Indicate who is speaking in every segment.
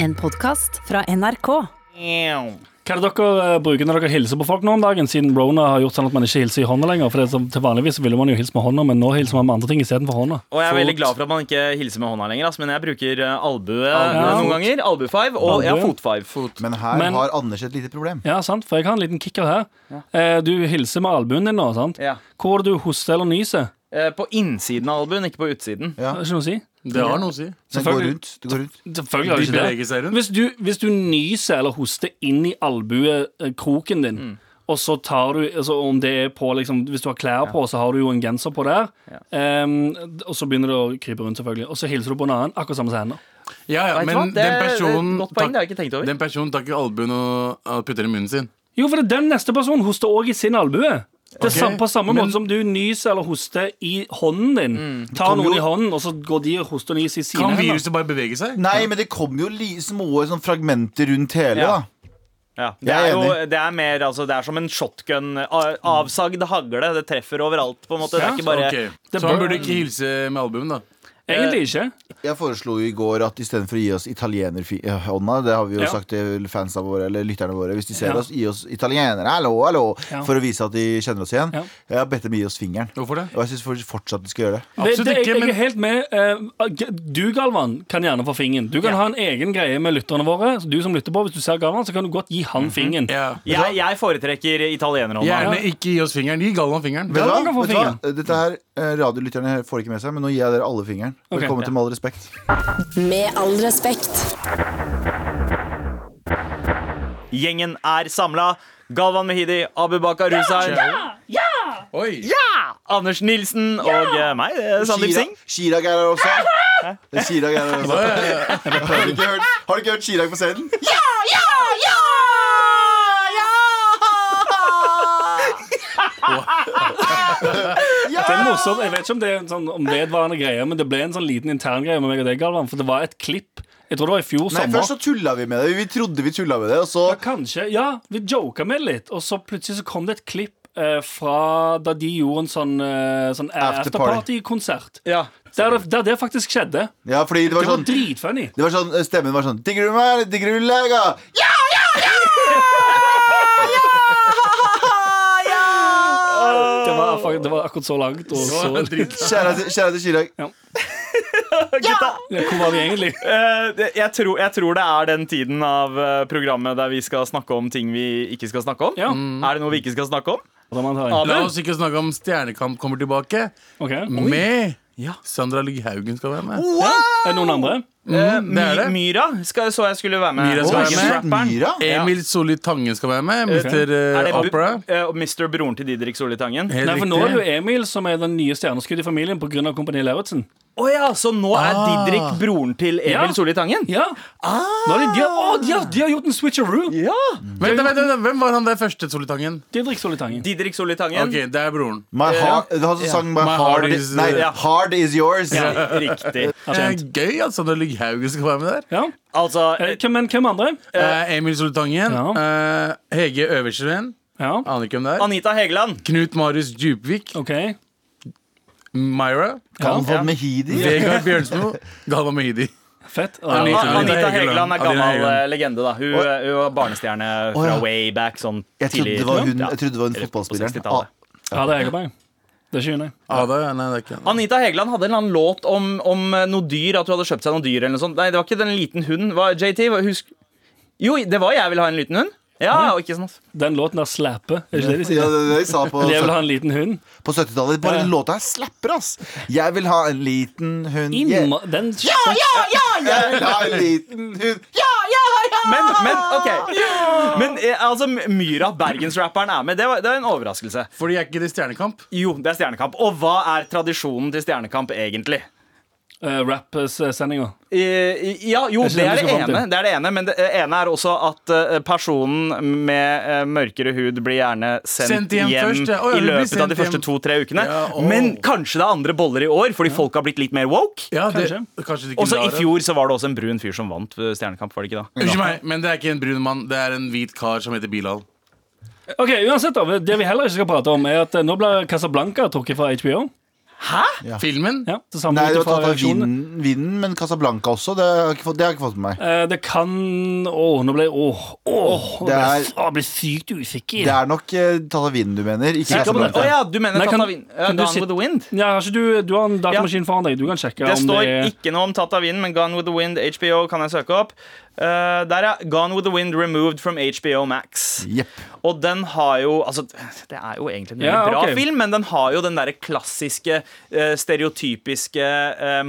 Speaker 1: En podkast fra NRK.
Speaker 2: Hva er det dere eh, bruker når dere hilser på folk nå om dagen, siden Rona har gjort sånn at man ikke hilser i hånda lenger? For det er som, til vanligvis ville man jo hilse med hånda, men nå hilser man med andre ting istedenfor hånda.
Speaker 3: Og jeg er veldig glad for at man ikke hilser med hånda lenger, ass, men jeg bruker eh, albue eh,
Speaker 2: Ja.
Speaker 3: noen ganger. Albue five og ja,
Speaker 2: Albue.
Speaker 3: fot five.
Speaker 4: Men her
Speaker 2: Men-
Speaker 4: har Anders et lite problem.
Speaker 2: Ja, sant, for jeg har en liten kicker her. Eh, du hilser med albuen din nå, sant?
Speaker 3: Ja.
Speaker 2: Hvor du hoster eller nyser,
Speaker 3: Eh, På innsiden av albuen, ikke på utsiden.
Speaker 2: det er ikke noe å si.
Speaker 5: Det har noe å si.
Speaker 4: Den går rundt. Det går rundt.
Speaker 2: Selvfølgelig
Speaker 5: De
Speaker 2: har det
Speaker 5: beveger
Speaker 2: ikke det.
Speaker 5: seg rundt.
Speaker 2: Hvis du, hvis du nyser eller hoster inn i albuekroken din, og så tar du altså om det er på, liksom, Hvis du har klær på, så har du jo en genser på der. Em, og så begynner det å krype rundt, selvfølgelig. Og så hilser du på en annen, akkurat samme som henne.
Speaker 5: Ja, ja,
Speaker 3: Vet du
Speaker 5: men
Speaker 3: hva? Det er-
Speaker 5: den
Speaker 3: det er et
Speaker 5: personen
Speaker 3: godt poeng, det har
Speaker 5: tak-
Speaker 3: jeg ikke tenkt over.
Speaker 5: Den personen tar ikke albuen og og putter den i munnen sin.
Speaker 2: Jo, for det er den neste personen hoster òg i sin albue. Det er
Speaker 5: Ok,
Speaker 2: sam- på samme
Speaker 5: men- Mm.
Speaker 2: måte som du nyser eller hoster i hånden din. Tar noen
Speaker 4: kommer jo-
Speaker 2: i hånden, og så går de og hoster og nyser i sine
Speaker 5: Kan
Speaker 2: hender.
Speaker 5: viruset bare bevege seg?
Speaker 4: Nei, men det kommer jo li små sånn fragmenter rundt hele.
Speaker 3: Ja.
Speaker 4: da
Speaker 3: Ja. Det,
Speaker 4: Jeg er
Speaker 3: er jo,
Speaker 4: enig.
Speaker 3: det, er mer, altså, det er som en shotgun. a- Avsagd hagle. Det treffer overalt, på en måte. Det er
Speaker 2: Ja,
Speaker 3: ikke bare
Speaker 5: Ok,
Speaker 2: Det
Speaker 5: Så han
Speaker 2: bør-
Speaker 5: burde ikke hilse med albuen, da.
Speaker 2: Egentlig
Speaker 5: Eh,
Speaker 2: ikke.
Speaker 4: Jeg foreslo jo i går at istedenfor å gi oss italienerhånda, det har vi jo
Speaker 2: Ja.
Speaker 4: sagt til fansa våre, eller lytterne våre, hvis de ser
Speaker 2: Ja.
Speaker 4: oss, gi oss italienere, hallo, hallo,
Speaker 2: Ja.
Speaker 4: for å vise at de kjenner oss igjen.
Speaker 2: Ja.
Speaker 4: Jeg har bedt dem gi oss fingeren.
Speaker 5: Hvorfor det?
Speaker 4: Og jeg syns fortsatt de skal gjøre det.
Speaker 2: Det,
Speaker 5: Absolutt
Speaker 2: det, jeg,
Speaker 5: ikke,
Speaker 2: jeg
Speaker 5: men-
Speaker 2: er helt med. eh, G- Du, Galvan, kan gjerne få fingen. Du kan ha en egen greie med lytterne våre. Så Du som lytter på, Hvis du ser Galvan, så kan du godt gi han fingen.
Speaker 5: Mhm. Ja.
Speaker 3: Jeg, jeg foretrekker italienerhånda.
Speaker 5: Gjerne ikke gi oss fingeren. Gi Galvan fingeren.
Speaker 4: Vet du
Speaker 2: kan
Speaker 4: hva?
Speaker 2: få
Speaker 4: Vet du hva? Dette her, eh, Radiolytterne får ikke med seg, men nå gir jeg dere alle fingeren.
Speaker 2: Ok.
Speaker 4: Velkommen til Med all respekt.
Speaker 1: Med all respekt.
Speaker 3: Gjengen er samla. Galvan Mehidi, Abubakar Ruzair,
Speaker 5: Oi!
Speaker 3: Anders Nilsen og eh, meg, eh, Sandeep
Speaker 4: Chirag-
Speaker 3: Singh.
Speaker 4: Chirag er her også. Det er Chirag er her også.
Speaker 5: Ja, ja, ja.
Speaker 4: Har du ikke hørt, har du ikke hørt Chirag på scenen?
Speaker 2: Det er morsomt. Jeg vet ikke om det er en sånn om vedvarende greie, men det ble en sånn liten intern greie med meg og deg, Galvan. For det var et klipp. Jeg tror det var i fjor
Speaker 4: Nei,
Speaker 2: sommer.
Speaker 4: først så tulla vi med det. Vi trodde vi tulla med det, og så
Speaker 2: Ja, kanskje. Ja, vi joka med det litt, og så plutselig så kom det et klipp eh, fra da de gjorde en sånn, eh, sånn
Speaker 4: After party.
Speaker 2: afterparty-konsert.
Speaker 3: Ja.
Speaker 2: Der, det- der det faktisk skjedde.
Speaker 4: Ja, fordi det var
Speaker 2: Det var
Speaker 4: sånn
Speaker 2: dritfunny.
Speaker 4: Det var sånn, Stemmen var sånn Digger du meg? Digger du lega? Ja!
Speaker 2: Det var, fak- det var akkurat så langt. Og så,
Speaker 5: Så drit-
Speaker 4: Kjære til kjære til Chirag.
Speaker 3: Gutta,
Speaker 2: ja, hvor var vi egentlig?
Speaker 3: eh, det- jeg, tror, jeg tror det er den tiden av eh, programmet der vi skal snakke om ting vi ikke skal snakke om. Mm.
Speaker 2: Ja.
Speaker 3: Er det noe vi ikke skal snakke om?
Speaker 2: Da må man ta inn.
Speaker 5: La
Speaker 3: Abel?
Speaker 5: oss ikke snakke om Stjernekamp kommer tilbake.
Speaker 2: Ok.
Speaker 5: Mm. Med
Speaker 3: Ja.
Speaker 5: Sandra Ligg Haugen skal være med. Mm,
Speaker 2: Er det noen andre?
Speaker 3: Oh, Eh,
Speaker 5: det er det.
Speaker 3: My- Myra skal, så jeg skulle være med.
Speaker 5: Myra skal
Speaker 3: Og
Speaker 5: være med.
Speaker 3: rapperen.
Speaker 4: Myra?
Speaker 3: Ja.
Speaker 5: Emil Solli Tangen skal være med. Mister
Speaker 3: Er det
Speaker 5: eh,
Speaker 3: bu-
Speaker 5: Opera.
Speaker 3: eh, og Mr. Broren til Didrik Solitangen. Å
Speaker 5: Helt
Speaker 2: Nei, for nå er det
Speaker 5: riktig.
Speaker 2: jo Emil som er den nye stjerneskuddet i familien pga. Kompani Lauritzen.
Speaker 3: ja, så nå er
Speaker 5: Ah.
Speaker 3: Didrik broren til Emil
Speaker 2: Ja.
Speaker 3: Solitangen?
Speaker 2: Ja. Nå er de, de, har, å, de, har, de har gjort en switcheroo.
Speaker 3: Ja.
Speaker 5: Vent, vent, vent, vent, Hvem var han der første Solli Tangen?
Speaker 2: Didrik Solitangen.
Speaker 3: Didrik Solitangen.
Speaker 5: Ok, det er broren.
Speaker 4: My heart, det var sånn sang My,
Speaker 5: My
Speaker 4: heart,
Speaker 5: heart
Speaker 4: is
Speaker 5: is-
Speaker 4: Nei,
Speaker 3: ja.
Speaker 4: Hard is yours.
Speaker 3: Ja, Riktig.
Speaker 5: Det er Eh, gøy at Sandra Ligg Haugen skal være med der.
Speaker 2: Ja.
Speaker 3: Altså,
Speaker 2: Eh, hvem- Men hvem andre?
Speaker 5: Eh, Emil Solli Tangen.
Speaker 2: Ja.
Speaker 5: eh, Hege Øversveen.
Speaker 2: Ja,
Speaker 5: Aner ikke hvem det er.
Speaker 3: Anita Hegeland.
Speaker 5: Knut Marius Djupvik.
Speaker 2: OK.
Speaker 5: Myra.
Speaker 4: Kan få med Heidi.
Speaker 5: Vegard Bjørnsmo. Galvan Mehidi.
Speaker 2: Fett.
Speaker 3: Ja,
Speaker 5: Anita
Speaker 3: Anita,
Speaker 5: Hegeland.
Speaker 3: Hegeland er gammel
Speaker 5: Anita Hegeland.
Speaker 3: eh, legende, da. Hun,
Speaker 4: Å.
Speaker 3: hun var barnestjerne
Speaker 4: Å,
Speaker 3: fra
Speaker 4: ja.
Speaker 3: way back. Sånn
Speaker 4: Jeg trodde
Speaker 3: tidlig-
Speaker 4: det var hun,
Speaker 3: Ja.
Speaker 4: jeg trodde det var hun
Speaker 3: Eller på
Speaker 4: fotballspilleren.
Speaker 3: 60-tallet.
Speaker 2: Ja, det er Egerberg. Det er ikke hun, nei.
Speaker 5: Ada? Nei, det er ikke han.
Speaker 3: Ah. Anita Hegeland hadde en eller annen låt om, om eh, noe dyr. At hun hadde kjøpt seg noe dyr eller noe sånt. Nei, det var ikke den liten hunden. Hva, JT, hva- husk Jo, det var 'Jeg vil ha en liten hund'. Ja, og ikke sånn.
Speaker 2: Den låten der slapper, er ikke det de
Speaker 4: Ah, Ja,
Speaker 2: sier?
Speaker 4: det, det jeg sa på,
Speaker 2: Jeg vil ha en liten hund.
Speaker 4: på 70-tallet. Bare
Speaker 2: Ja.
Speaker 4: låta her slapper, ass. Jeg vil ha en liten hund. Jeg,
Speaker 2: Innma den
Speaker 4: jeg vil ha en liten hund. Ja!
Speaker 3: Men, men ok. Men eh, altså, Myra, bergensrapperen, er med. Det var, det var en overraskelse.
Speaker 5: Fordi jeg er ikke det Stjernekamp.
Speaker 3: Jo, det er Stjernekamp. Og hva er tradisjonen til Stjernekamp, egentlig?
Speaker 2: uh, rap-sendinga.
Speaker 3: Eh, ja, jo, det er det,
Speaker 2: Det er ikke den du skal fram
Speaker 3: ene, det er det ene. Men det eh, ene er også at eh, personen med eh, mørkere hud blir gjerne sendt,
Speaker 5: Sendt hjem først, ja. Å, ja,
Speaker 3: i
Speaker 5: du blir
Speaker 3: løpet av
Speaker 5: sendt
Speaker 3: de første
Speaker 5: hjem.
Speaker 3: to-tre ukene.
Speaker 5: Ja, å.
Speaker 3: Men kanskje det er andre boller i år, fordi folk har blitt litt mer woke.
Speaker 5: Ja, det,
Speaker 2: Kanskje.
Speaker 5: kanskje det ikke
Speaker 3: Også
Speaker 5: lar
Speaker 3: i
Speaker 5: det.
Speaker 3: fjor så var det også en brun fyr som vant eh, Stjernekamp, var det ikke da?
Speaker 5: Unnskyld meg, men det er ikke en brun mann. Det er en hvit kar som heter Bilal.
Speaker 2: Ok, uansett da, Det vi heller ikke skal prate om, er at eh, nå blir Casablanca trukket fra HBO.
Speaker 3: Hæ?
Speaker 5: Filmen?
Speaker 2: Ja, det samme
Speaker 4: Nei, det
Speaker 2: ut
Speaker 4: var
Speaker 2: ifra
Speaker 4: tatt av
Speaker 2: reaksjonene.
Speaker 4: vinden, vinden, men Casablanca også. Det har jeg ikke fått, det har jeg ikke fått med meg.
Speaker 2: Eh, Det kan Åh, nå ble jeg Åh, åh, nå
Speaker 4: Det
Speaker 2: ble jeg
Speaker 4: er-
Speaker 2: faen, ble sykt usikker.
Speaker 4: Det er nok eh, tatt av vinden du mener, ikke
Speaker 2: Sikker på
Speaker 3: Å
Speaker 4: Casablanca.
Speaker 3: ja, du mener
Speaker 2: Nei,
Speaker 3: tatt
Speaker 2: kan-
Speaker 3: av vind? Ja,
Speaker 2: kan du
Speaker 3: Gone
Speaker 2: si-
Speaker 3: with the wind?
Speaker 2: Ja, har ikke du, du har en datamaskin foran deg. Du kan sjekke
Speaker 3: Det
Speaker 2: om
Speaker 3: står
Speaker 2: det er
Speaker 3: ikke noe om Tatt av vinden, men Gone with the Wind, HBO, kan jeg søke opp. Eh, der er Gone with the Wind removed from HBO Max.
Speaker 4: Jepp.
Speaker 3: Og den har jo Altså, det er jo egentlig en veldig
Speaker 2: Ja,
Speaker 3: bra
Speaker 2: ok.
Speaker 3: film, men den har jo den derre klassiske, eh, stereotypiske eh,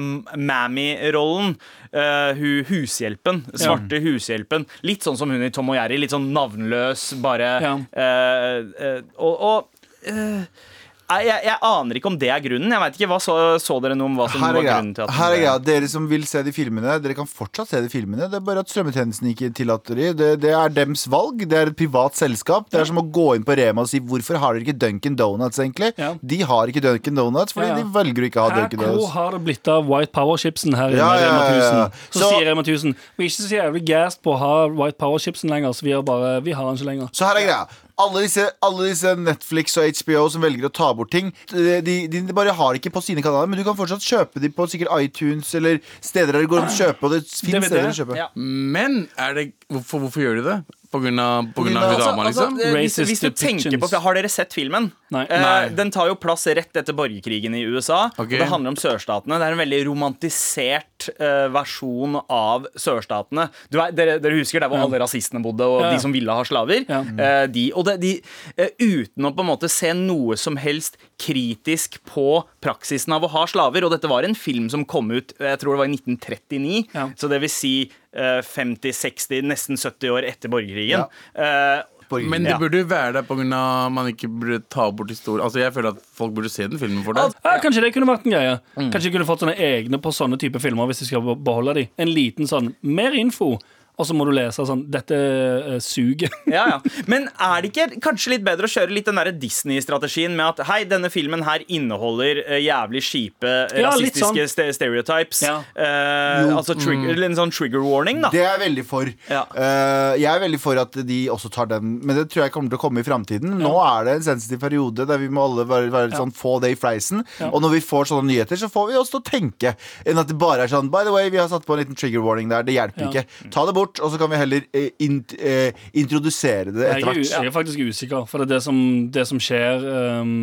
Speaker 3: mammy-rollen. Eh, hun hushjelpen. Svarte hushjelpen. Litt sånn som hun i Tom og Jerry. Litt sånn navnløs, bare
Speaker 2: Ja.
Speaker 3: eh, eh, Og, og eh, nei, jeg, jeg aner ikke om det er grunnen. Jeg vet ikke, hva så, så dere noe om hva som
Speaker 4: Her
Speaker 3: var
Speaker 4: er
Speaker 3: grunnen til
Speaker 4: greia.
Speaker 3: at
Speaker 4: Her er
Speaker 3: den ble-
Speaker 4: greia. Dere som vil se de filmene, dere kan fortsatt se de filmene. Det er bare at strømmetjenesten ikke tillater de. Det, det er dems valg. Det er et privat selskap. Det er som å gå inn på Rema og si 'Hvorfor har dere ikke Duncan Donuts', egentlig?
Speaker 2: Ja.
Speaker 4: De har ikke Duncan Donuts fordi
Speaker 2: Ja, ja.
Speaker 4: de velger å ikke ha
Speaker 2: Hæ,
Speaker 4: Duncan
Speaker 2: hvor
Speaker 4: Donuts.
Speaker 2: har det blitt av White Power-chipsen her?
Speaker 4: Ja,
Speaker 2: inne i
Speaker 4: ja,
Speaker 2: Rema
Speaker 4: ja, ja.
Speaker 2: 1000? Så,
Speaker 4: Så-
Speaker 2: sier Rema 1000 Vi er ikke så jævlig gassed på å ha White Power-chipsen lenger, så vi har, bare, vi har den ikke lenger.
Speaker 4: Så her er greia. Alle disse, alle disse Netflix og HBO som velger å ta bort ting, de, de bare har ikke på sine kanaler, men du kan fortsatt kjøpe de på sikkert iTunes eller steder der det går an å kjøpe, og det fins
Speaker 2: DVD,
Speaker 4: steder å kjøpe.
Speaker 3: ja.
Speaker 5: Men er det, hvorfor, hvorfor gjør de det? På grunn av, på grunn
Speaker 4: Fordi
Speaker 5: av
Speaker 4: det-
Speaker 5: dama,
Speaker 3: Altså,
Speaker 5: liksom?
Speaker 3: eh, hvis,
Speaker 2: Racist
Speaker 3: hvis du tenker på,
Speaker 2: depictions.
Speaker 3: Har dere sett filmen?
Speaker 2: Nei.
Speaker 3: Eh,
Speaker 5: Nei.
Speaker 3: Den tar jo plass rett etter borgerkrigen i USA.
Speaker 5: Ok.
Speaker 3: Og det handler om sørstatene. Det er en veldig romantisert eh, versjon av sørstatene. Du er, dere, dere husker der hvor alle rasistene bodde, og
Speaker 2: Ja, ja.
Speaker 3: de som ville ha slaver?
Speaker 2: Ja.
Speaker 3: Eh, de, og det, de, eh, uten å på en måte se noe som helst kritisk på praksisen av å ha slaver. Og dette var en film som kom ut eh, jeg tror det var i 1939.
Speaker 2: Ja.
Speaker 3: Så det vil si eh, 50-60, nesten 70 år etter borgerkrigen. Eh,
Speaker 4: Borgerkrig.
Speaker 5: Men det
Speaker 3: Ja.
Speaker 5: burde jo være der pga. man ikke burde ta bort historien. Altså, jeg føler at folk burde se den filmen for det.
Speaker 2: Ja, kanskje det kunne vært en greie.
Speaker 4: Mm.
Speaker 2: Kanskje de kunne fått sånne egne på sånne type filmer hvis de skal be- beholde de. En liten sånn Mer info, og så må du lese sånn Dette eh, suger.
Speaker 3: ja, ja. Men er det ikke kanskje litt bedre å kjøre litt den der Disney-strategien med at hei, denne filmen her inneholder eh, jævlig kjipe eh,
Speaker 2: Ja, litt
Speaker 3: rasistiske
Speaker 2: sånn.
Speaker 3: ste- stereotypes?
Speaker 2: Ja.
Speaker 3: Eh, altså trigger, en sånn trigger warning, da.
Speaker 4: Mm. Det er jeg veldig for.
Speaker 3: Ja.
Speaker 4: Eh, jeg er veldig for at de også tar den, men det tror jeg kommer til å komme i framtiden. Nå er det en sensitiv periode der vi må alle være, være litt sånn, få det i fleisen. Og når vi får sånne nyheter, så får vi oss til å tenke. Enn at det bare er sånn By the way, vi har satt på en liten trigger warning der. Det hjelper
Speaker 2: Ja.
Speaker 4: ikke. Ta det bort, og så kan vi heller eh, int, eh, introdusere det
Speaker 2: Jeg
Speaker 4: etter
Speaker 2: er, u-
Speaker 4: hvert.
Speaker 2: jeg er faktisk usikker, for det er det som, det som skjer ehm,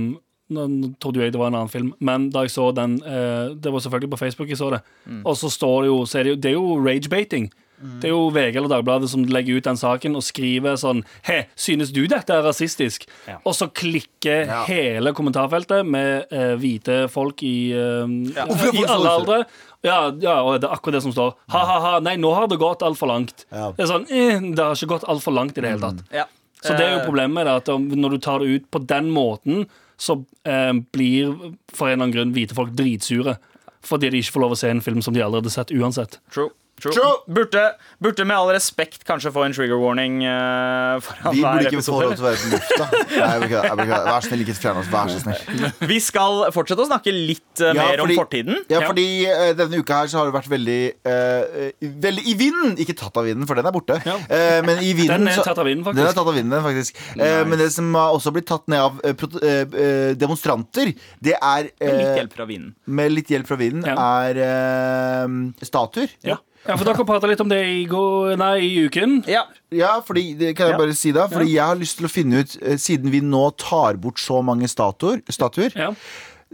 Speaker 2: Nå nå trodde jo jeg det var en annen film, men da jeg så den eh, Det var selvfølgelig på Facebook jeg så det.
Speaker 4: Mm.
Speaker 2: Og så står det jo, så er det jo Det er jo rage-baiting. Det er jo VG eller Dagbladet som legger ut den saken og skriver sånn He, synes du dette er rasistisk?
Speaker 3: Ja.
Speaker 2: Og så klikker hele kommentarfeltet med eh, hvite folk i, eh,
Speaker 4: Hvorfor
Speaker 2: i
Speaker 4: folk
Speaker 2: alle
Speaker 4: står-
Speaker 2: aldre. Ja, ja, og det er akkurat det som står. Ha-ha-ha, nei, nå har det gått altfor langt.
Speaker 4: Ja. Mm.
Speaker 2: Det er sånn, eh, det har ikke gått altfor langt i det hele tatt.
Speaker 3: Ja.
Speaker 2: Så det er jo
Speaker 3: Eh,
Speaker 2: problemet med det, at om- når du tar det ut på den måten, så eh, blir for en eller annen grunn hvite folk dritsure. Fordi de ikke får lov å se en film som de allerede har sett uansett.
Speaker 3: True. True.
Speaker 4: True.
Speaker 3: Burde, burde med all respekt kanskje få en trigger warning eh, foran
Speaker 4: Vi
Speaker 3: hver
Speaker 4: burde ikke få
Speaker 3: episode.
Speaker 4: lov til å være på lufta. Nei, jeg beklager, jeg beklager. Vær snill, ikke fjern oss. Vær så snill.
Speaker 3: Vi skal fortsette å snakke litt eh, mer om fortiden.
Speaker 4: Ja, fordi eh, denne uka her så har det vært veldig eh, Veldig i vinden! Ikke tatt av vinden, for den er borte.
Speaker 2: Ja.
Speaker 4: Eh, men i vinden
Speaker 2: Den er
Speaker 4: så-
Speaker 2: tatt av vinden, faktisk.
Speaker 4: Den er tatt av vinden, den, faktisk. Eh, men det som har også blitt tatt ned av eh, prot- eh, eh, demonstranter, det er
Speaker 3: Litt
Speaker 4: eh,
Speaker 3: hjelp fra vinden.
Speaker 4: Med litt hjelp fra vinden,
Speaker 2: Ja.
Speaker 4: er eh, statuer.
Speaker 2: Ja. for dere prata litt om det i går Nei, i uken.
Speaker 3: Ja.
Speaker 4: Ja, fordi, det kan jeg
Speaker 3: Ja.
Speaker 4: bare si da Fordi jeg har lyst til å finne ut, eh, siden vi nå tar bort så mange statuer, statuer
Speaker 2: Ja,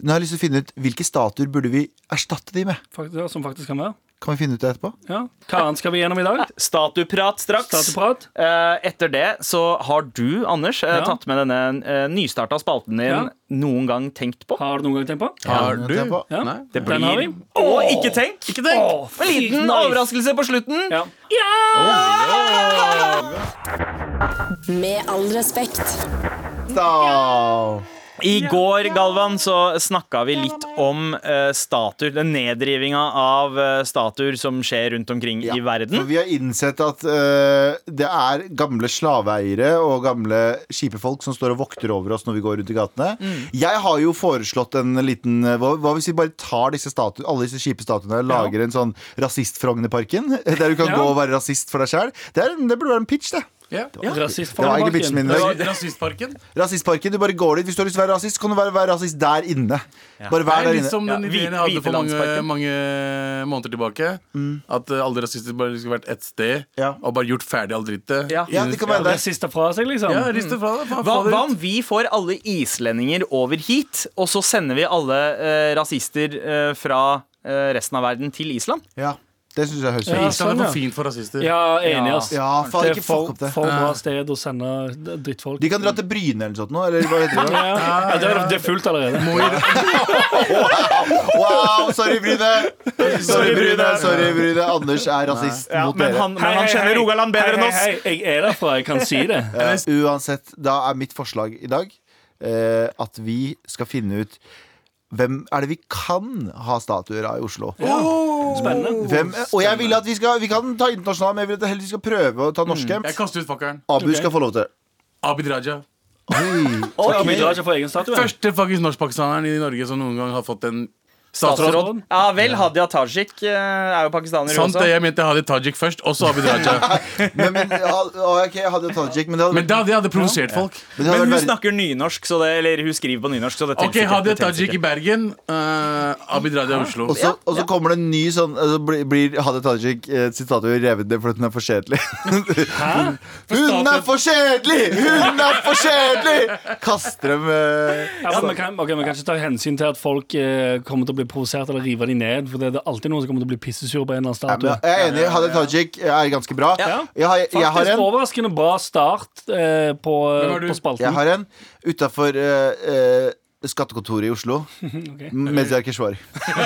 Speaker 4: Nå har jeg lyst til å finne ut hvilke statuer burde vi erstatte de med.
Speaker 2: faktisk, ja, Som faktisk kan være.
Speaker 4: Kan vi finne ut det etterpå?
Speaker 2: Ja. Hva annet skal vi gjennom i dag?
Speaker 3: Statuprat straks.
Speaker 2: Statuprat.
Speaker 3: Eh, etter det så har du, Anders, eh,
Speaker 2: Ja.
Speaker 3: tatt med denne uh, nystarta spalten din
Speaker 2: Ja.
Speaker 3: noen gang tenkt på.
Speaker 2: Har du noen gang tenkt på?
Speaker 5: Har
Speaker 4: Ja,
Speaker 5: du?
Speaker 4: tenk på.
Speaker 2: Ja.
Speaker 5: Nei.
Speaker 2: Det blir... Den har vi.
Speaker 3: Å, ikke tenk!
Speaker 2: Åh,
Speaker 3: En liten
Speaker 2: fy, nice.
Speaker 3: overraskelse på slutten.
Speaker 2: Ja.
Speaker 1: Med all respekt.
Speaker 4: Da.
Speaker 3: I går, Galvan, så snakka vi litt om eh, statuer. Den nedrivinga av eh, statuer som skjer rundt omkring
Speaker 4: Ja,
Speaker 3: i verden.
Speaker 4: For vi har innsett at eh, det er gamle slaveeiere og gamle kjipe folk som står og vokter over oss når vi går rundt i gatene. Jeg har jo foreslått en liten eh, Hva, hva hvis vi bare tar disse statu, alle disse kjipe statuene og lager en sånn rasistfrognerparken? Der du kan
Speaker 2: Ja.
Speaker 4: gå og være rasist for deg sjæl? Det, er en- det burde være en pitch, det.
Speaker 5: Ja.
Speaker 4: Det var egentlig
Speaker 2: Rasistfarmaken.
Speaker 4: bitchen min i
Speaker 5: Det
Speaker 4: dag.
Speaker 5: var Rasistparken.
Speaker 4: Rasistparken, du bare går dit. Hvis du har lyst til å være rasist, så kan du være, være rasist der inne. Bare
Speaker 5: Det
Speaker 4: vær
Speaker 5: er
Speaker 4: der
Speaker 5: litt
Speaker 4: inne.
Speaker 5: som den
Speaker 3: Ja,
Speaker 5: ideen jeg
Speaker 3: Hvite-
Speaker 5: hadde for mange,
Speaker 3: Hvitelandsparken.
Speaker 5: mange eh, måneder tilbake. At eh, alle rasister bare skulle vært ett sted
Speaker 4: Mm. Ja.
Speaker 5: og bare gjort ferdig all drittet.
Speaker 3: Ja.
Speaker 4: Ja, det kan være der.
Speaker 2: Rasister fra seg, liksom.
Speaker 5: Ja, rist det fra deg. faen,
Speaker 3: Hva,
Speaker 5: få det
Speaker 3: hva
Speaker 5: ut.
Speaker 3: om vi får alle islendinger over hit, og så sender vi alle eh, rasister eh, fra eh, resten av verden til Island?
Speaker 4: Ja, det syns jeg høres
Speaker 2: Ja,
Speaker 4: ut.
Speaker 5: Island
Speaker 2: sånn,
Speaker 5: er
Speaker 2: ja.
Speaker 5: for fint for rasister.
Speaker 2: Ja, enig,
Speaker 3: Ja.
Speaker 2: ass.
Speaker 4: Ja, faen,
Speaker 2: Det er
Speaker 4: ikke
Speaker 2: for,
Speaker 4: fuck opp det.
Speaker 2: for bra sted å sende drittfolk.
Speaker 4: De kan dra til Bryne eller noe sånt nå, eller hva heter det?
Speaker 2: Ja, ja, det, er, det er fullt allerede.
Speaker 5: Må i-
Speaker 4: Wow, sorry, Bryne! Sorry, Bryne. Sorry, Bryne. Anders er rasist mot
Speaker 3: men
Speaker 4: dere.
Speaker 3: han, men han kjenner Rogaland bedre enn oss.
Speaker 2: Hei, hei, hei. Jeg er derfra, jeg kan si det.
Speaker 4: Eh, Uansett, da er mitt forslag i dag eh, at vi skal finne ut hvem er det vi kan ha statuer av i Oslo?
Speaker 3: Oh.
Speaker 2: Spennende.
Speaker 4: Hvem, og jeg vil at vi skal Vi kan ta internasjonale, men jeg vil at heller vi skal prøve å ta norske.
Speaker 5: Jeg kaster ut fuckeren.
Speaker 4: Abu skal få lov til det.
Speaker 5: Abid Raja.
Speaker 2: Og vi drar ikke for egen statue.
Speaker 5: Første faktisk norskpakistaneren i Norge som noen gang har fått en statsråd.
Speaker 3: Statsråd. Ja vel, Hadia Tajik eh, er jo pakistaner, hun
Speaker 5: Sant det,
Speaker 3: også.
Speaker 5: jeg mente Hadia Tajik først, og så Abid Raja.
Speaker 4: Men, men, ja, ok, jeg hadde jo Tajik, men det hadde,
Speaker 5: Men da hadde jeg hadde provosert folk.
Speaker 4: men det
Speaker 3: Men hun
Speaker 4: hadde vært verre.
Speaker 3: snakker nynorsk, så det, eller hun skriver på nynorsk, så det
Speaker 5: Ok,
Speaker 3: teller ikke.
Speaker 5: Hadia
Speaker 3: Det teller
Speaker 5: Tajik i
Speaker 3: ikke.
Speaker 5: Bergen, eh, Abid Raja i Oslo.
Speaker 4: Og så, og så kommer det en ny sånn altså, blir, blir Hadia Tajik eh, sitt statue revet ned fordi hun er for kjedelig. hun er for kjedelig! Hun er for kjedelig! Kaster dem eh,
Speaker 2: Ja, men vi kan, ok, vi kan ikke ta hensyn til at folk eh, kommer til å bli provosert eller rive de ned. For det, det er alltid noen som kommer til å bli pissesur på en eller annen
Speaker 4: Nei, men
Speaker 2: statue.
Speaker 4: Jeg er enig. Hadia Tajik eh, er ganske bra.
Speaker 2: Ja.
Speaker 4: Jeg har, jeg har
Speaker 2: Faktisk
Speaker 4: en
Speaker 2: overraskende bra start eh, på,
Speaker 5: Hvem er du?
Speaker 2: på spalten.
Speaker 4: Jeg har en utafor eh, skattekontoret i Oslo. Mezi Arkeshwari.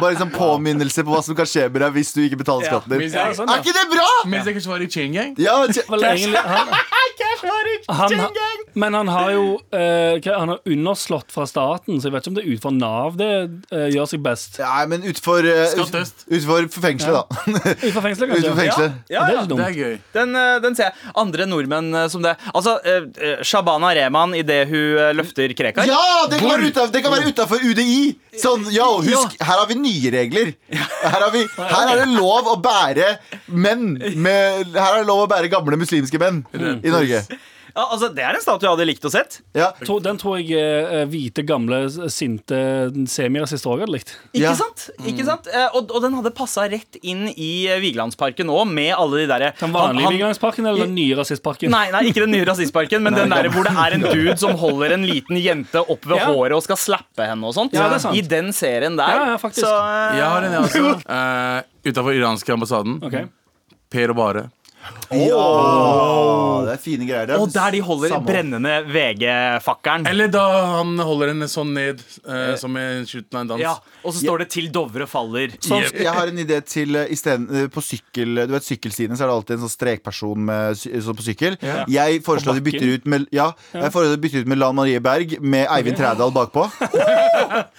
Speaker 4: Bare en sånn påminnelse på hva som kan skje med deg hvis du ikke betaler skatten din.
Speaker 5: Ja,
Speaker 2: sånn,
Speaker 4: Er
Speaker 2: ja.
Speaker 4: ikke det bra?!
Speaker 5: Mens jeg kanskje var i Chain Gang.
Speaker 4: Ja, tje-
Speaker 2: Vel, egentlig, han, han, han, men han har jo eh, hva- Han har underslått fra staten, så jeg vet ikke om det er utenfor Nav det eh, gjør seg best.
Speaker 4: Nei, men utfor eh,
Speaker 5: Skatt
Speaker 4: ut-
Speaker 5: øst.
Speaker 4: Utfor fengselet, da.
Speaker 2: Utenfor fengselet, kanskje.
Speaker 4: Utenfor fengselet.
Speaker 3: Ja, ja, ja.
Speaker 2: Det er ikke
Speaker 5: Det
Speaker 2: dumt.
Speaker 5: er gøy.
Speaker 3: Den, eh, den ser jeg. Andre nordmenn eh, som det. Altså, eh, eh, Shabana Rehman idet hun eh, løfter Krekar.
Speaker 4: Ja, det kan, være utenfor, det kan være utenfor UDI! Sånn, ja, og husk, her har vi nye regler. Her, har vi, her er det lov å bære menn med, Her er det lov å bære gamle muslimske menn i Norge.
Speaker 3: Ja, altså, det er en statue jeg hadde likt å sett.
Speaker 4: Ja,
Speaker 2: To- Den tror jeg eh, hvite, gamle, sinte semirasister òg hadde likt.
Speaker 3: Ikke
Speaker 4: Ja.
Speaker 3: sant? Ikke sant? Eh, Og, og den hadde passa rett inn i eh, Vigelandsparken òg, med alle de derre
Speaker 2: Den vanlige
Speaker 3: han- han-
Speaker 2: Vigelandsparken eller den nye rasistparken?
Speaker 3: Nei, nei, ikke den nye rasistparken, men den der hvor det er en dude som holder en liten jente opp ved
Speaker 2: Ja.
Speaker 3: håret og skal slappe henne og sånt.
Speaker 2: Ja, det er sant.
Speaker 3: I den serien der.
Speaker 2: Ja, ja, faktisk.
Speaker 3: Så, eh,
Speaker 5: Jeg har en, jeg også. Uh, Utafor iranske ambassaden.
Speaker 2: Ok.
Speaker 5: Per og Bare.
Speaker 4: Åh, det er fine greier.
Speaker 3: og der de holder
Speaker 4: Samhold.
Speaker 3: brennende VG-fakkelen.
Speaker 5: Eller da han holder henne sånn ned, eh, som i slutten av en dans.
Speaker 3: Ja, og så står det 'Til Dovre faller'.
Speaker 4: Sånn, jeg har en idé til eh, i stedet, eh, På sykkel, du vet sykkelsidene Så er det alltid en sånn strekperson med, sy- sånn på sykkel Jeg foreslår at de bytter ut med Ja, jeg foreslår at de bytter ut med Lan Marie Berg Med Eivind Trædal bakpå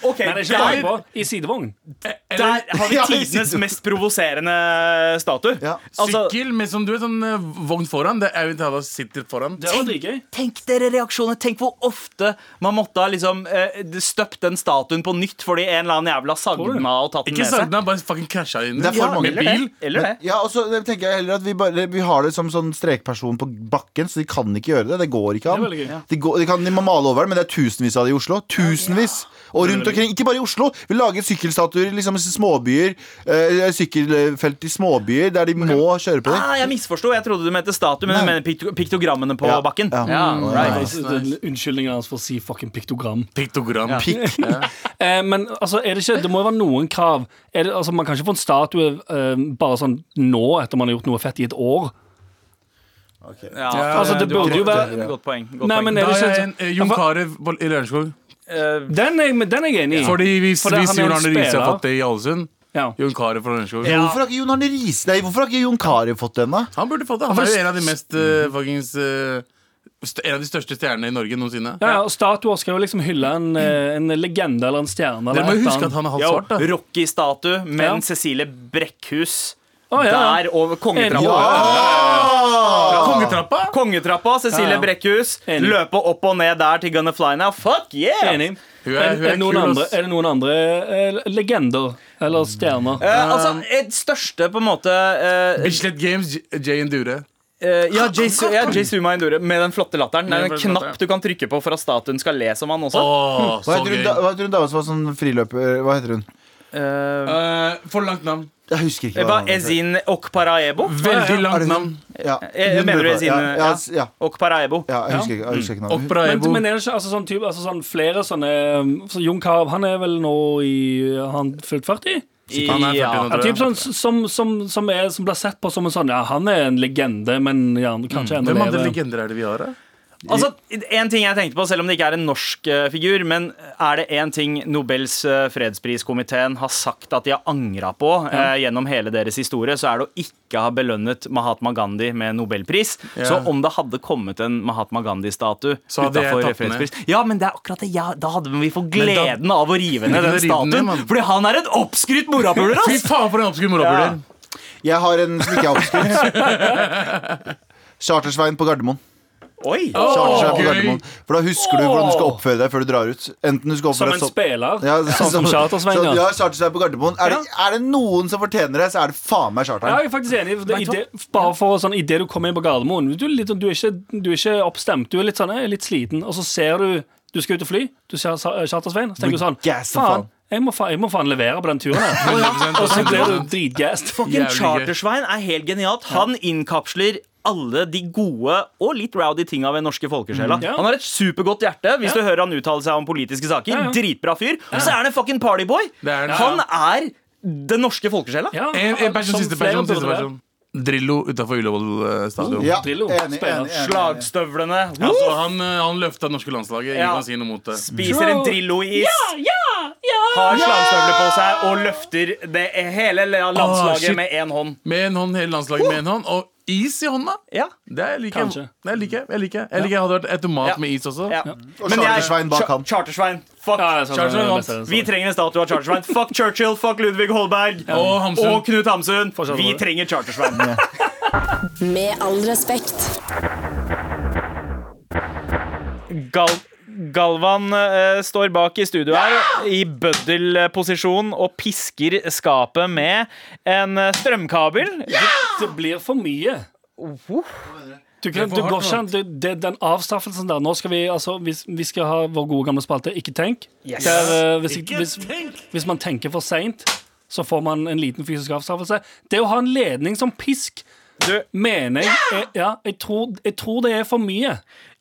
Speaker 3: Ok,
Speaker 2: Nei, det er ikke
Speaker 3: der,
Speaker 2: bakpå. I sidevogn.
Speaker 3: der har vi
Speaker 4: Ja, jeg
Speaker 3: tidenes
Speaker 4: sitter-
Speaker 3: mest provoserende statue.
Speaker 4: Ja.
Speaker 3: Altså,
Speaker 5: Sykkel med som du vet, sånn eh, vogn foran. Det er jo Tala sitter foran.
Speaker 2: Det var dritgøy.
Speaker 3: Tenk dere reaksjoner, tenk hvor ofte man måtte ha liksom, eh, støpt den statuen på nytt fordi en eller annen jævla sagna og tatt den
Speaker 5: Ikke
Speaker 3: med seg.
Speaker 5: sagna, bare fucking krasja inn.
Speaker 4: Det er for
Speaker 5: Ja,
Speaker 4: mange.
Speaker 5: Med bil.
Speaker 3: Eller det.
Speaker 4: Ja, og så tenker jeg heller at vi, bare, vi har det som sånn strekperson på bakken Så de kan ikke gjøre det, det går ikke an
Speaker 2: Det er veldig gøy.
Speaker 4: de, går, de kan de må male over det, men det er tusenvis av det i Oslo Tusenvis Og rundt omkring, ikke bare i Oslo Vi lager sykkelstatuer, liksom i småbyer eh, Sykkelfelt i småbyer Der de må kjøre på det
Speaker 3: Ah, jeg misforsto. Jeg trodde du mente statue, men du mener pikto piktogrammene på
Speaker 4: Ja.
Speaker 3: bakken.
Speaker 4: Ja. Mm.
Speaker 3: right.
Speaker 2: Nei, det er den Unnskyldningen hans for å si fucking piktogram.
Speaker 5: Piktogram.
Speaker 4: Pikk
Speaker 2: Eh, men altså, er det, ikke, det må jo være noen krav. Er det, altså, man kan ikke få en statue eh, bare sånn nå, etter man har gjort noe fett i et år.
Speaker 3: Ja. Eh,
Speaker 2: Altså, det
Speaker 3: du har
Speaker 2: burde jo
Speaker 3: godt-
Speaker 2: være-
Speaker 3: Godt poeng. Godt
Speaker 2: Nei,
Speaker 3: poeng.
Speaker 2: men
Speaker 5: Da
Speaker 2: er det
Speaker 5: har
Speaker 2: ikke
Speaker 5: jeg en eh, Jon
Speaker 2: Ja, for-
Speaker 5: Carew på- i Lørenskog.
Speaker 3: Eh,
Speaker 2: Den er, jeg- den er jeg enig i.
Speaker 5: Fordi hvis,
Speaker 2: For det-
Speaker 5: hvis
Speaker 2: han er
Speaker 5: Jon
Speaker 2: en
Speaker 5: Arne Riise har
Speaker 2: spiller.
Speaker 5: fått det i Ålesund
Speaker 2: Ja.
Speaker 5: Jon Carew fra Lørenskog.
Speaker 4: Hvorfor har ikke Jon Arne Riise Nei, hvorfor har ikke Jon Carew fått den, da?
Speaker 5: Han burde fått det. Han er jo en av de mest eh, fuckings eh, st- En av de største stjernene i Norge noensinne.
Speaker 2: Ja, ja, og Statuer skal jo liksom hylle en, eh, en legende eller en stjerne. Eller
Speaker 5: Dere må
Speaker 2: et
Speaker 5: jo
Speaker 2: eller
Speaker 5: huske at
Speaker 2: annet.
Speaker 5: han er halvt
Speaker 3: jo,
Speaker 5: svart. da
Speaker 3: Rocky-statue, men
Speaker 2: Ja.
Speaker 3: Cecilie Brekkhus
Speaker 2: Å, ja.
Speaker 3: der over kongetrappa.
Speaker 4: Ah!
Speaker 5: Kongetrappa!
Speaker 3: Kongetrappa, Cecilie
Speaker 2: Ja, ja.
Speaker 3: Brekkhus.
Speaker 2: Enig.
Speaker 3: Løpe opp og ned der til Gonna Fly Now. Fuck yeah!
Speaker 2: Enig.
Speaker 5: Hun
Speaker 2: Er,
Speaker 5: er, hun
Speaker 2: er, det
Speaker 5: er
Speaker 2: noen
Speaker 5: kul,
Speaker 2: andre,
Speaker 5: ass.
Speaker 2: er det noen andre eh, legender eller stjerner?
Speaker 3: Eh, altså, et største på en måte eh,
Speaker 5: Bislett Games, J- Jay and Dure.
Speaker 3: eh, ja, Jesu- ja, Jesu Maindure med den flotte latteren. Det er
Speaker 5: Med
Speaker 3: en
Speaker 5: den flotte
Speaker 3: knapp du kan trykke på for at statuen skal le som han også.
Speaker 5: Åh,
Speaker 4: Hva
Speaker 5: så
Speaker 4: heter,
Speaker 5: gøy.
Speaker 4: hun, da, hva heter hun dama som var sånn friløper Hva heter hun?
Speaker 3: Eh,
Speaker 5: Eh, for langt navn.
Speaker 4: Jeg husker ikke.
Speaker 3: det var
Speaker 4: hva navnet
Speaker 3: Ezin Okparaebo.
Speaker 5: Veldig
Speaker 4: Er
Speaker 5: langt
Speaker 4: det-
Speaker 5: navn.
Speaker 4: heter. Ja.
Speaker 3: Eh,
Speaker 4: Hun
Speaker 3: mener du
Speaker 4: burde-
Speaker 3: Ezin,
Speaker 4: ja, ja,
Speaker 3: ja.
Speaker 4: s- ja.
Speaker 3: Okparaebo.
Speaker 4: ja, jeg husker ikke, jeg husker ikke
Speaker 5: Og
Speaker 4: navnet.
Speaker 2: Men,
Speaker 5: Braebo.
Speaker 2: men er det ikke altså, sånn, type, altså, sånn flere sånne eh, så Jon Carew, han er vel nå i Har han fylt 40?
Speaker 5: Han er 40
Speaker 3: Ja.
Speaker 2: Ja,
Speaker 5: nå, tror
Speaker 2: typ
Speaker 5: jeg.
Speaker 2: sånn, som, som, som, er, som blir sett på som en sånn Ja, han er en legende, men ja, kanskje ennå
Speaker 5: Mm. Hvem andre
Speaker 2: lever.
Speaker 5: legender er det vi har, da?
Speaker 3: Altså, en ting jeg tenkte på, Selv om det ikke er en norsk eh, figur, men er det én ting Nobels eh, fredspriskomité har sagt at de har angra på eh, gjennom hele deres historie, så er det å ikke ha belønnet Mahatma Gandhi med nobelpris. Så om det hadde kommet en Mahatma Gandhi-statue
Speaker 5: Så hadde jeg
Speaker 3: utafor
Speaker 5: tatt den ned.
Speaker 3: fredspris Ja, men det er akkurat det. Ja, da hadde vi fått
Speaker 5: Men da-
Speaker 3: gleden av å rive ned
Speaker 5: Men
Speaker 3: den
Speaker 5: riv den ned,
Speaker 3: statuen.
Speaker 5: mann.
Speaker 3: Fordi han er en oppskrytt morapuler,
Speaker 5: Fy
Speaker 3: ass!
Speaker 5: faen, for en oppskrudd
Speaker 3: Ja.
Speaker 5: morapuler.
Speaker 4: Jeg har en som ikke er oppskrytt. Chartersveien på Gardermoen.
Speaker 3: Oi!
Speaker 4: Chartersveien på
Speaker 5: gøy.
Speaker 4: Gardermoen For da husker du hvordan du skal oppføre deg før du drar ut. Enten du
Speaker 2: Som
Speaker 4: skal oppføre
Speaker 2: en
Speaker 4: deg
Speaker 2: spiller.
Speaker 4: Ja,
Speaker 2: sånn som Chartersveien.
Speaker 4: så-
Speaker 2: ja.
Speaker 4: Ja, Chartersveien på Gardermoen. Er det, er det noen som fortjener det, så er det faen meg
Speaker 2: Ja,
Speaker 4: Charteren.
Speaker 2: jeg er faktisk enig. Det,
Speaker 3: Vet
Speaker 2: i
Speaker 3: du hva?
Speaker 2: det, bare for sånn, i det du kommer inn på Gardermoen Du er, litt, sånn- du er, ikke, du er ikke oppstemt, du er litt, sånn, jeg er litt sliten, og så ser du Du skal ut og fly, du ser Sa- Chartersveien, så tenker du sånn
Speaker 4: gass som
Speaker 2: Faen,
Speaker 4: faen."
Speaker 2: jeg må, faen, jeg må faen levere på den turen her. og så blir du dritgassed.
Speaker 3: Fucking
Speaker 5: Jævlig gøy.
Speaker 3: Chartersveien er helt genialt. Han innkapsler alle de gode og litt rowdy tinga ved norske folkesjela.
Speaker 2: Mm, ja.
Speaker 3: Han har et supergodt hjerte, hvis du hører han uttale seg om politiske saker.
Speaker 2: Ja, ja.
Speaker 3: Dritbra fyr. Og så er han en fucking partyboy!
Speaker 5: Det er det.
Speaker 3: Han er den norske folkesjela.
Speaker 2: Ja,
Speaker 5: En, en person,
Speaker 2: som
Speaker 5: siste
Speaker 2: flere
Speaker 5: person,
Speaker 2: burde
Speaker 5: siste
Speaker 2: være.
Speaker 5: person. Drillo utafor Ullevål eh, stadion.
Speaker 4: Ja,
Speaker 2: Drillo, spiller.
Speaker 3: Slagstøvlene.
Speaker 5: Altså,
Speaker 3: Woo!
Speaker 5: han, eh, han løfta det norske landslaget. Ingen
Speaker 3: Ja.
Speaker 5: kan si noe mot det.
Speaker 3: Spiser en
Speaker 2: Bro.
Speaker 3: Drillo-is. Har slagstøvler på seg og løfter det hele
Speaker 5: Åh,
Speaker 3: landslaget
Speaker 5: shit.
Speaker 3: med én hånd.
Speaker 5: Med en hånd, hele landslaget med en hånd. Og is i hånda!
Speaker 3: Ja.
Speaker 5: Det er like,
Speaker 2: Kanskje.
Speaker 5: Det er like, jeg liker Jeg liker jeg hadde vært automat
Speaker 3: Ja.
Speaker 5: med is også.
Speaker 3: Ja.
Speaker 4: Og
Speaker 3: Men jeg-
Speaker 4: Chartersveien bak
Speaker 3: Cha-
Speaker 4: han.
Speaker 3: Chartersveien. Fuck.
Speaker 2: Ja, jeg sa det,
Speaker 5: Chartersveien
Speaker 2: det er
Speaker 5: vant.
Speaker 2: best, det er sånn.
Speaker 3: Vi trenger en statue av Chartersveien. Fuck Churchill, fuck Ludvig Holberg.
Speaker 5: Og Hamsun.
Speaker 3: Og Knut Hamsun.
Speaker 2: Fortsatt
Speaker 3: Vi
Speaker 2: det.
Speaker 3: trenger Chartersveien.
Speaker 1: Med all respekt.
Speaker 3: Gal Galvan eh, står bak i studio her i bøddelposisjon og pisker skapet med en eh, strømkabel.
Speaker 2: Det blir for mye. Du kan,
Speaker 5: Det er for
Speaker 2: du
Speaker 5: hardt,
Speaker 2: går ikke an, det, det, den avstraffelsen der Nå skal vi, altså, vi, vi skal ha vår gode gamle spalte Ikke tenk.
Speaker 3: Yes.
Speaker 2: Der, eh, hvis, hvis, hvis man tenker for seint, så får man en liten fysisk avstraffelse. Det å ha en ledning som pisk
Speaker 3: Du-
Speaker 2: Mener jeg jeg, ja, jeg, tror, jeg tror det er for mye.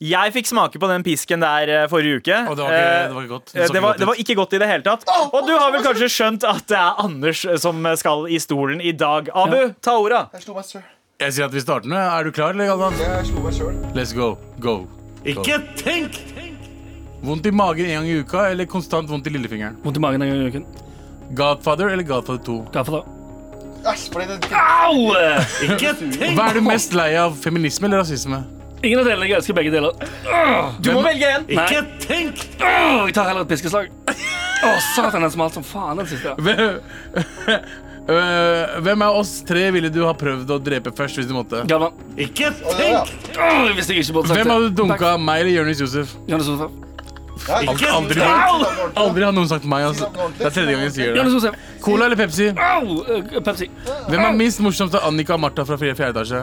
Speaker 3: Jeg fikk smake på den pisken der eh, forrige uke.
Speaker 5: Og det var ikke, det var ikke godt.
Speaker 3: Eh,
Speaker 5: så
Speaker 3: Det var,
Speaker 5: ikke godt
Speaker 3: det var
Speaker 5: ut.
Speaker 3: ikke godt i det hele tatt. Og du har vel kanskje skjønt at det er Anders som skal i stolen i dag. Abu, ta ordet.
Speaker 4: Jeg slo meg sjøl.
Speaker 5: Jeg sier at vi starter nå. Er du klar, eller, Galvan?
Speaker 4: Jeg slo meg sjøl.
Speaker 5: Let's go. Go. Ikke tenk! Vondt i magen en gang i uka eller konstant vondt i lillefingeren?
Speaker 2: Vondt i magen en gang i uken.
Speaker 5: Godfather eller Godfather 2?
Speaker 2: Hva for det?
Speaker 4: Æsj, ble det
Speaker 2: Au!
Speaker 5: Hva er du mest lei av? Feminisme eller rasisme?
Speaker 2: Ingen av delene. Jeg elsker begge deler.
Speaker 3: Du må velge en.
Speaker 2: Nei. Åh, jeg tar heller et piskeslag. Å, satan, den smalt som faen, den siste.
Speaker 5: Hvem- Øh, Eh, Hvem av oss tre ville du ha prøvd å drepe først hvis du måtte?
Speaker 2: Galvan.
Speaker 4: ja.
Speaker 2: Åh, jeg visste jeg ikke burde sagt
Speaker 5: Hvem
Speaker 2: det.
Speaker 5: hadde dunka meg eller Jonis Josef?
Speaker 2: Jonas Josef.
Speaker 5: Aldri, aldri, aldri har noen sagt meg. Altså. Det er tredje gang jeg sier det.
Speaker 2: Jonas Josef.
Speaker 5: Cola eller Pepsi?
Speaker 2: Au! eh, Pepsi.
Speaker 5: Hvem er minst morsomst av Annika og Martha fra fire- fjerde etasje?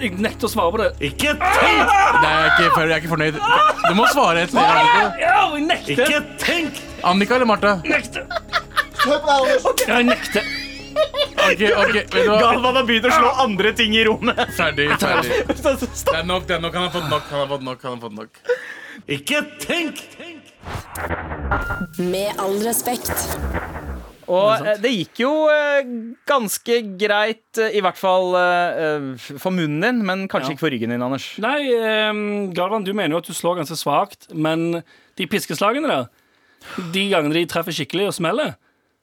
Speaker 2: Jeg nekter å svare på det. Ah!
Speaker 5: Nei, jeg er ikke, for- jeg er ikke fornøyd. Du må svare et sted. Annika.
Speaker 2: Au, jeg nekter!
Speaker 5: Annika eller Martha?
Speaker 2: nekter.
Speaker 4: Hør på deg, Anders.
Speaker 2: Ja, jeg nekter.
Speaker 5: Ok, ok, vet du hva?
Speaker 3: Galvan har begynt å slå andre ting i rommet.
Speaker 5: Ferdig. ferdig.
Speaker 3: Stopp.
Speaker 5: Det er nok, det er nok. Han har fått nok. Han har fått nok, han har fått nok.
Speaker 1: Med all respekt.
Speaker 3: Og eh, det gikk jo eh, ganske greit, eh, i hvert fall eh, eh, for munnen din, men kanskje
Speaker 2: Ja.
Speaker 3: ikke for ryggen din, Anders.
Speaker 2: Nei, ehm, Galvan, du mener jo at du slår ganske svakt, men de piskeslagene der, de gangene de treffer skikkelig og smeller,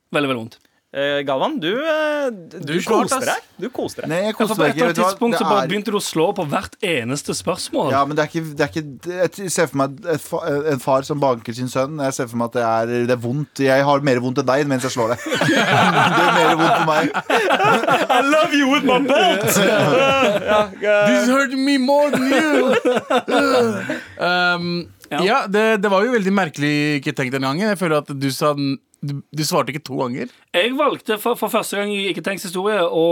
Speaker 2: veldig, veldig vondt.
Speaker 3: Eh, Galvan, du, eh, d- du,
Speaker 5: slår
Speaker 3: koste
Speaker 5: hardt, ass.
Speaker 3: deg. Du koste deg.
Speaker 4: Nei, jeg
Speaker 2: Ja, for
Speaker 4: koste
Speaker 2: på
Speaker 4: meg
Speaker 2: et eller
Speaker 4: ikke.
Speaker 2: annet
Speaker 4: Vet du hva?
Speaker 2: tidspunkt så bare
Speaker 4: Det er-
Speaker 2: begynte du å slå på hvert eneste spørsmål.
Speaker 4: Ja, men det er ikke, det er ikke Jeg ser for meg et fa, en far som banker sin sønn. Jeg ser for meg at det er, det er vondt. Jeg har mer vondt enn deg mens jeg slår deg. Det er mer vondt for meg.
Speaker 3: I love you with my belt!
Speaker 5: This hurt me more than you! um, ja, det, det var jo veldig merkelig ikke tenkt den gangen. Jeg føler at du sa den- du, du svarte ikke to ganger.
Speaker 2: Jeg valgte for, for første gang i Ikke tenks historie å,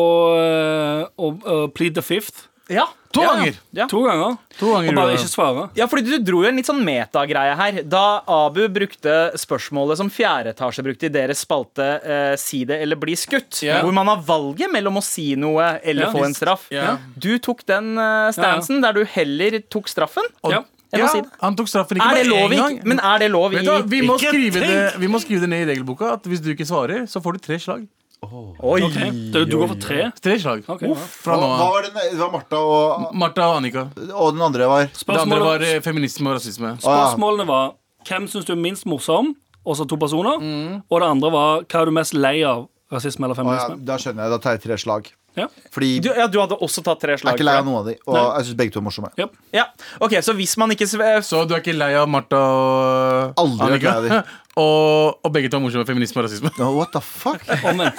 Speaker 2: å, å eh, plead the fifth.
Speaker 3: Ja.
Speaker 5: To
Speaker 3: ja,
Speaker 5: ganger.
Speaker 3: Ja.
Speaker 2: To ganger.
Speaker 5: To ganger
Speaker 2: Og bare
Speaker 5: gjorde
Speaker 2: ikke svare.
Speaker 3: Ja, fordi Du dro jo en litt sånn metagreie her. Da Abu brukte spørsmålet som fjerde etasje brukte i deres spalte eh, 'Si det eller bli skutt',
Speaker 2: Ja.
Speaker 3: hvor man har valget mellom å si noe eller
Speaker 2: Ja,
Speaker 3: få en
Speaker 2: visst.
Speaker 3: straff.
Speaker 5: Ja.
Speaker 3: Du tok den eh, stansen der du heller tok straffen
Speaker 2: Ja.
Speaker 3: enn å si det.
Speaker 5: Han tok straffen ikke
Speaker 3: Er det
Speaker 5: bare
Speaker 3: lov
Speaker 5: én
Speaker 3: i,
Speaker 5: gang.
Speaker 3: men er det lov i
Speaker 5: Vet du hva, vi må,
Speaker 6: Ikke
Speaker 5: skrive
Speaker 6: tenk!
Speaker 5: det, vi må skrive det ned i regelboka at hvis du ikke svarer, så får du tre slag.
Speaker 3: Oi.
Speaker 2: Ok, Du, du går for tre?
Speaker 5: Tre slag.
Speaker 2: Ok, ja.
Speaker 5: Uff, fra
Speaker 4: Hva
Speaker 5: nå av.
Speaker 4: var, den, det var Martha og,
Speaker 5: Martha og Annika.
Speaker 4: og den andre var
Speaker 5: Det andre var
Speaker 2: Spørsmålet,
Speaker 5: eh, feminisme og rasisme.
Speaker 2: spørsmålene var hvem syns du er minst morsom, og så to personer.
Speaker 4: Mm.
Speaker 2: Og det andre var hva er du mest lei av? Rasisme eller
Speaker 4: Å ja,
Speaker 2: feminisme?
Speaker 4: Da skjønner jeg. Da tar jeg tre slag.
Speaker 2: Ja.
Speaker 4: Fordi
Speaker 3: Du, ja, du hadde også tatt tre
Speaker 4: jeg er
Speaker 3: slag.
Speaker 4: ikke lei av
Speaker 3: for det.
Speaker 4: noen av de. Og
Speaker 2: Nei.
Speaker 4: jeg syns begge to er morsomme.
Speaker 2: Yep.
Speaker 3: Ja. Ok, Så hvis man ikke eh, sve-
Speaker 5: Så du er ikke lei av Martha og
Speaker 4: Aldri vært
Speaker 5: Annika?
Speaker 4: lei av
Speaker 5: og, og begge to er morsomme. Feminisme og rasisme.
Speaker 4: No, what the fuck?
Speaker 2: Omvendt.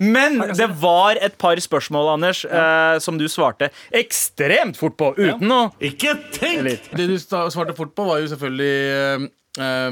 Speaker 3: Men det var et par spørsmål, Anders, eh, som du svarte ekstremt fort på. Uten å
Speaker 6: Ikke tenk!
Speaker 5: Det du sta- svarte fort på, var jo selvfølgelig eh,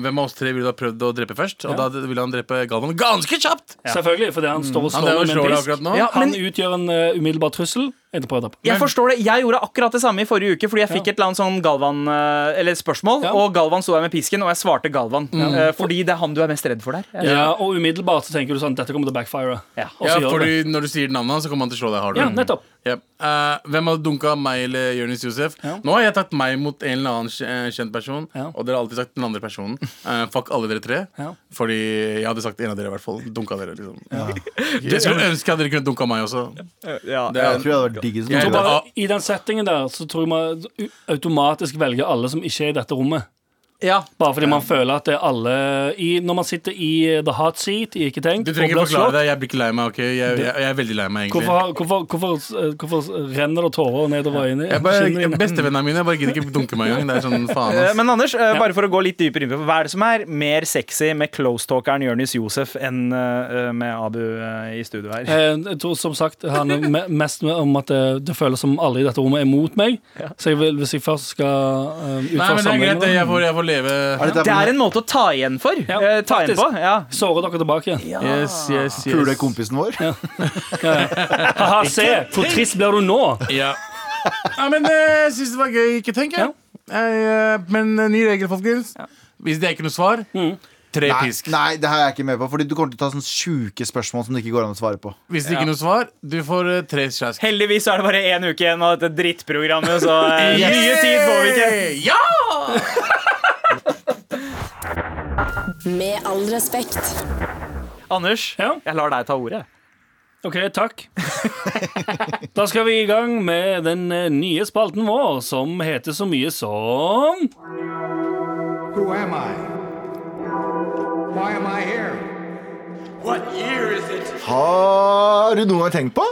Speaker 5: hvem av oss tre ville ha prøvd å drepe først? Og da ville han drepe Galvan ganske kjapt!
Speaker 2: Selvfølgelig, fordi han står og
Speaker 5: Mm. Han der
Speaker 2: slår
Speaker 5: og
Speaker 2: med
Speaker 5: slår
Speaker 2: en
Speaker 5: deg
Speaker 2: pisk.
Speaker 5: akkurat nå.
Speaker 3: Ja.
Speaker 2: Han
Speaker 3: men-
Speaker 2: utgjør en eh, umiddelbar trussel. Etterpå, etterpå.
Speaker 3: Jeg forstår det, jeg gjorde akkurat det samme i forrige uke, fordi jeg fikk et eller annet sånn Galvan, eh, eller spørsmål,
Speaker 2: Ja.
Speaker 3: og Galvan sto der med pisken, og jeg svarte Galvan. eh, Fordi det er han du er mest redd for der.
Speaker 2: Ja. og umiddelbart så tenker du sånn dette kommer til å backfire.
Speaker 3: Ja.
Speaker 2: Og
Speaker 5: Ja,
Speaker 2: så gjør det.
Speaker 5: fordi Når du sier navnet hans, så kommer han til å slå deg hardere.
Speaker 2: Ja, nettopp.
Speaker 5: Yep. Eh, hvem har dunka meg eller Jonis Josef? Nå har jeg tatt meg mot en eller annen kj- eh, kjent person,
Speaker 2: Ja.
Speaker 5: og dere har alltid sagt den andre personen. Eh, fuck alle dere tre.
Speaker 2: Ja.
Speaker 5: Fordi jeg hadde sagt en av dere, i hvert fall. Dunka dere, liksom. Jeg skulle ønske at dere kunne dunka meg også.
Speaker 3: Ja.
Speaker 5: Det
Speaker 4: Jeg
Speaker 5: er,
Speaker 4: tror jeg hadde vært diggest.
Speaker 5: Jeg
Speaker 2: Så
Speaker 5: tror
Speaker 4: Ja,
Speaker 2: bare,
Speaker 5: Ja.
Speaker 2: I den settingen der så tror jeg man u- automatisk velger alle som ikke er i dette rommet.
Speaker 3: Ja.
Speaker 2: Bare fordi man føler at det er alle i, Når man sitter i eh, the hot seat i Ikke tenkt
Speaker 5: du
Speaker 2: og
Speaker 5: trenger
Speaker 2: blir
Speaker 5: ikke forklare
Speaker 2: slått,
Speaker 5: deg. Jeg blir ikke lei meg. ok? Jeg, jeg, jeg er veldig lei meg, egentlig.
Speaker 2: hvorfor, har- hvorfor, hvorfor, eh, hvorfor renner det tårer nedover øynene?
Speaker 5: Jeg bare,
Speaker 2: kinnene dine?
Speaker 5: Bestevennene mine bare gidder ikke dunke meg engang. Det er sånn, faen
Speaker 3: Eh,
Speaker 5: ass.
Speaker 3: Men Anders, eh, bare for å gå litt dypere inn på hva er det som er mer sexy med close-talkeren Jonis Josef enn eh, med Abu eh, i studio her?
Speaker 2: Eh, Jeg tror som sagt det handler me- mest om at det, det føles som alle i dette rommet er mot meg. Så jeg vil, hvis jeg først skal eh,
Speaker 5: Nei,
Speaker 2: utføre
Speaker 5: men det er greit. det. Jeg
Speaker 2: sammenhengen,
Speaker 5: får, jeg får leve.
Speaker 4: Er det
Speaker 3: Det er
Speaker 4: der
Speaker 3: en måte å ta igjen for.
Speaker 2: Ja,
Speaker 3: eh, ta igjen på.
Speaker 2: faktisk.
Speaker 3: Ja.
Speaker 2: sårer dere tilbake igjen.
Speaker 5: Yes, yes, yes.
Speaker 4: pule kompisen vår?
Speaker 2: Haha, se! Hvor trist blir du nå?
Speaker 5: Ja. Nei, men eh, jeg syns det var gøy. Ikke tenk, jeg. Jeg, eh, men eh, ny regel, folkens. Hvis det er ikke noe svar,
Speaker 2: Mm.
Speaker 5: tre
Speaker 4: Nei,
Speaker 5: pisk.
Speaker 4: nei, det her er jeg ikke med på. Fordi du kommer til å ta sånne sjuke spørsmål som det ikke går an å svare på.
Speaker 5: Hvis det ikke er noe svar, du får eh, tre sjask.
Speaker 3: Heldigvis så er det bare én uke igjen av dette drittprogrammet, så eh,
Speaker 5: Yes!
Speaker 3: mye tid får vi ikke.
Speaker 5: Ja!
Speaker 1: Med all respekt.
Speaker 3: Anders,
Speaker 2: Ja.
Speaker 3: jeg lar deg ta ordet.
Speaker 2: OK, takk. Da skal vi i gang med den eh, nye spalten vår, som heter så mye som
Speaker 7: Who am I? Why am I here?
Speaker 8: Har du noen gang tenkt på?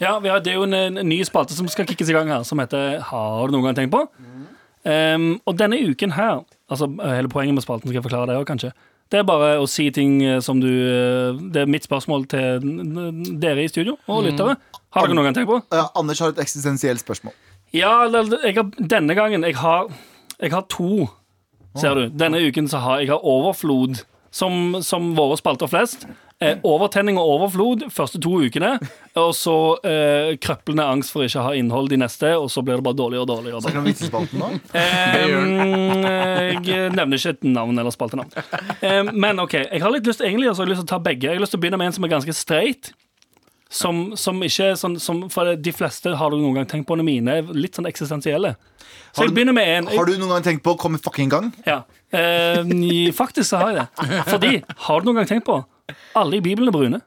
Speaker 2: Ja, vi har, det er jo en, en ny spalte som skal kickes i gang her, som heter Har du noen gang tenkt på? Ehm, og denne uken her, altså eh, hele poenget med spalten, skal jeg forklare det òg, kanskje. Det er bare å si ting eh, som du eh, Det er mitt spørsmål til n- n- dere i studio og lyttere. Har dere noen gang tenkt på?
Speaker 4: Ja, Anders har et eksistensielt spørsmål.
Speaker 2: Ja, eller, jeg har, denne gangen jeg har, jeg har to, ser du. Denne uken så har jeg har overflod, som, som våre spalter flest. Eh, overtenning og overflod første to ukene. Og så eh, krøplende angst for ikke å ha innhold de neste, og så blir det bare dårligere og dårligere. og
Speaker 4: Snakker
Speaker 2: dårligere.
Speaker 4: om vitsespalten nå?
Speaker 2: Em, Mm, jeg nevner ikke et navn eller spaltenavn. Em, men OK, jeg har litt lyst egentlig, altså, jeg har lyst til å ta begge. Jeg har lyst til å begynne med en som er ganske streit. Som, som ikke er sånn som, For de fleste har du noen gang tenkt på når mine er litt sånn eksistensielle. Så jeg begynner med en.
Speaker 4: Har du noen gang tenkt på å komme fucking i gang?
Speaker 2: Ja. Em, i- faktisk så har jeg det. Fordi, har du noen gang tenkt på alle i Bibelen er brune?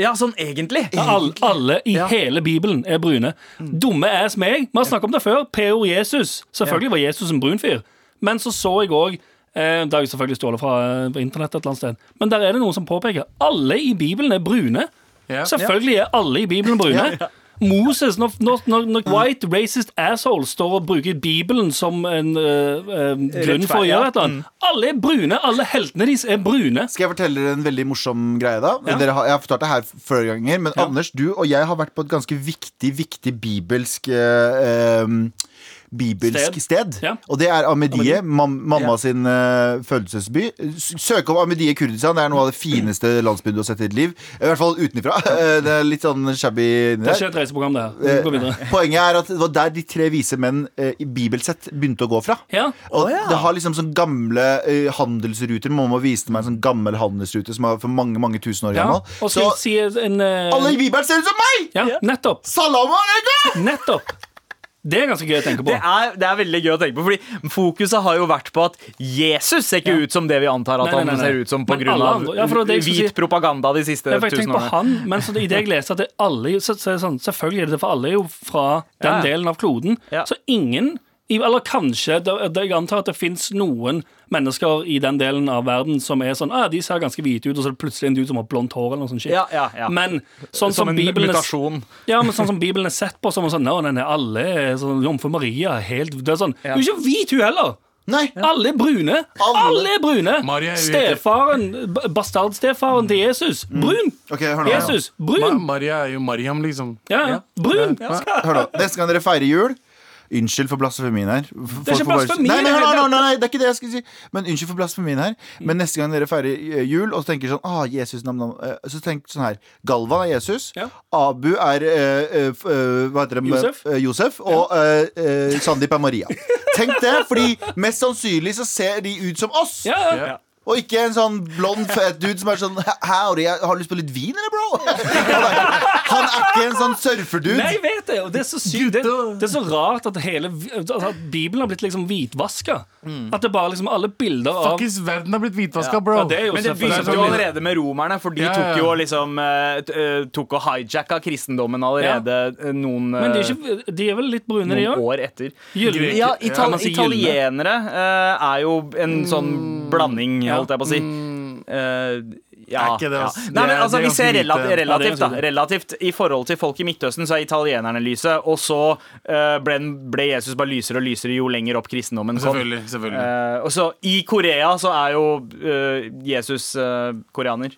Speaker 3: Ja, sånn egentlig. Mm.
Speaker 2: Alle, alle i hele Bibelen er brune. Dumme ass meg. Vi har snakket om det før. P.O. Jesus. Selvfølgelig var Jesus en brun fyr. Men så så jeg òg eh, Det har jeg selvfølgelig stjålet fra eh, internett et eller annet sted. Men der er det noen som påpeker alle i Bibelen er brune.
Speaker 5: Ja.
Speaker 2: Selvfølgelig er alle i Bibelen brune. Moses, når, når, når, når white racist asshole står og bruker Bibelen som en eh, eh, grunn for å
Speaker 3: Rettferdig, ja. Mm.
Speaker 2: gjøre et eller annet Alle er brune. Alle heltene deres er brune.
Speaker 4: Skal jeg fortelle dere en veldig morsom greie da? Dere har, jeg har fortalt det her flere ganger, men Anders, du og jeg har vært på et ganske viktig, viktig bibelsk eh, eh, bibelsk
Speaker 2: Sted.
Speaker 4: sted.
Speaker 2: Ja.
Speaker 4: Og det er Amedie,
Speaker 2: Ahmediyye.
Speaker 4: mam mamma
Speaker 3: Ja.
Speaker 4: sin eh, fødelsesby. S- Søk opp Amedie Kurdistan. Det er noe av det fineste landsbyen du har sett i ditt liv. I hvert fall utenfra. det er litt sånn shabby inni
Speaker 2: Det er
Speaker 4: der.
Speaker 2: ikke et reiseprogram, det her. Vi
Speaker 4: Eh,
Speaker 2: går videre.
Speaker 4: Poenget er at det var der de tre vise menn eh, i bibelsett begynte å gå fra.
Speaker 2: Ja.
Speaker 4: Og det har liksom sånn gamle eh, handelsruter. Mamma viste meg en sånn gammel handelsrute som er for mange mange tusen år
Speaker 2: ja.
Speaker 4: gammel.
Speaker 2: Og
Speaker 4: Så
Speaker 2: skal si en eh,
Speaker 4: alle i Bibelen ser ut som meg!
Speaker 2: Ja, nettopp.
Speaker 4: Salam alaikum!
Speaker 2: Nettopp. Det er ganske gøy å tenke på.
Speaker 3: Det er, det er veldig gøy å tenke på, fordi fokuset har jo vært på at Jesus ser ikke ut som det vi antar at
Speaker 2: Nei, nei, nei,
Speaker 3: han
Speaker 2: nei.
Speaker 3: ser ut som på
Speaker 2: Men
Speaker 3: grunn
Speaker 2: alle
Speaker 3: av
Speaker 2: andre- ja, for det var det jeg skulle
Speaker 3: hvit
Speaker 2: si.
Speaker 3: propaganda de siste
Speaker 2: Ja, for jeg
Speaker 3: tusen
Speaker 2: tenker på
Speaker 3: årene.
Speaker 2: han, men så det, i det jeg leser at det er alle, så, så er det sånn, Selvfølgelig er det det, for alle er jo fra den
Speaker 3: Ja, ja.
Speaker 2: delen av kloden.
Speaker 3: Ja.
Speaker 2: Så ingen i- Eller kanskje det, det, Jeg antar at det fins noen mennesker i den delen av verden som er sånn ah, De ser ganske hvite ut, og så er det plutselig en dude som har blondt hår eller noe sånt. shit.
Speaker 3: Ja, ja, ja.
Speaker 2: Men sånn som,
Speaker 3: Som en
Speaker 2: Bibelen er-
Speaker 3: mutasjon.
Speaker 2: Ja, men sånn som Bibelen er sett på, som sånn Nei, nei, nei, alle er sånn Jomfru Maria er helt Det er sånn Du er ikke hvit, hun heller!
Speaker 4: Nei.
Speaker 2: Alle er brune.
Speaker 4: Alle.
Speaker 2: Alle er brune.
Speaker 5: Maria er jo helt-
Speaker 2: Stefaren, b- bastardstefaren til Jesus, brun.
Speaker 4: Mm. Ok, hør nå.
Speaker 2: Jesus,
Speaker 5: Ma
Speaker 2: brun.
Speaker 5: Maria er jo Mariam, liksom.
Speaker 2: Ja, ja. brun.
Speaker 4: Hør nå, Neste gang dere feirer jul Unnskyld for blasfemien her. F-
Speaker 2: Det er ikke
Speaker 4: folk får bare-
Speaker 2: blasfemi,
Speaker 4: Nei, nei,
Speaker 2: det er
Speaker 4: nei, nei,
Speaker 2: helt-
Speaker 4: nei, nei, det er ikke det jeg skulle si. Men unnskyld for blasfemien her. Men neste gang dere feirer eh, jul og så tenker sånn ah, Jesus, nam, nam, eh, Så tenk sånn her. Galvan er Jesus.
Speaker 2: Ja.
Speaker 4: Abu er eh, eh, f- eh, Hva heter det?
Speaker 2: Josef.
Speaker 4: Eh, Josef og eh, eh, Sandeep er Maria. Tenk det, fordi mest sannsynlig så ser de ut som oss.
Speaker 2: Ja, ja.
Speaker 5: Ja.
Speaker 4: Og ikke en sånn blond fet dude som er sånn Howdy, jeg har du lyst på litt vin, eller, bro? Han er ikke en sånn surferdude.
Speaker 2: Nei, jeg vet det. Og det er så sykt. Det, det er så rart at hele altså, at Bibelen har blitt liksom hvitvaska.
Speaker 4: Mm.
Speaker 2: At det bare liksom alle bilder av
Speaker 5: Fuckings verden har blitt hvitvaska, bro.
Speaker 2: Ja, det er jo
Speaker 3: Men det
Speaker 2: selvfølgelig-
Speaker 3: begynte jo allerede med romerne, for de
Speaker 5: Ja, ja, ja.
Speaker 3: tok jo liksom eh, t- eh, Tok og hijacka kristendommen allerede eh, noen eh,
Speaker 2: Men de er, ikke, de er vel litt brune, de
Speaker 3: noen
Speaker 2: òg?
Speaker 3: år etter.
Speaker 2: Gylne.
Speaker 3: Ja,
Speaker 2: Kan
Speaker 3: ital
Speaker 2: man si gylne?
Speaker 3: italienere eh, er jo en sånn
Speaker 5: Mm,
Speaker 3: blanding,
Speaker 2: Ja.
Speaker 3: holdt jeg på å si. Eh, ja,
Speaker 5: Er ikke det,
Speaker 3: ja.
Speaker 5: ass.
Speaker 3: Nei,
Speaker 5: Det
Speaker 3: men
Speaker 5: er-
Speaker 3: altså,
Speaker 5: det er
Speaker 3: vi ser
Speaker 5: ganske
Speaker 3: relat
Speaker 5: lite.
Speaker 2: Ja, det er
Speaker 3: relativt, da.
Speaker 2: ganske lite.
Speaker 3: Relativt i forhold til folk i Midtøsten, så er italienerne lyse, og så eh, ble, den- ble Jesus bare lysere og lysere jo lenger opp kristendommen kom.
Speaker 5: Selvfølgelig. selvfølgelig
Speaker 3: Eh, og så I Korea så er jo eh, Jesus eh, koreaner.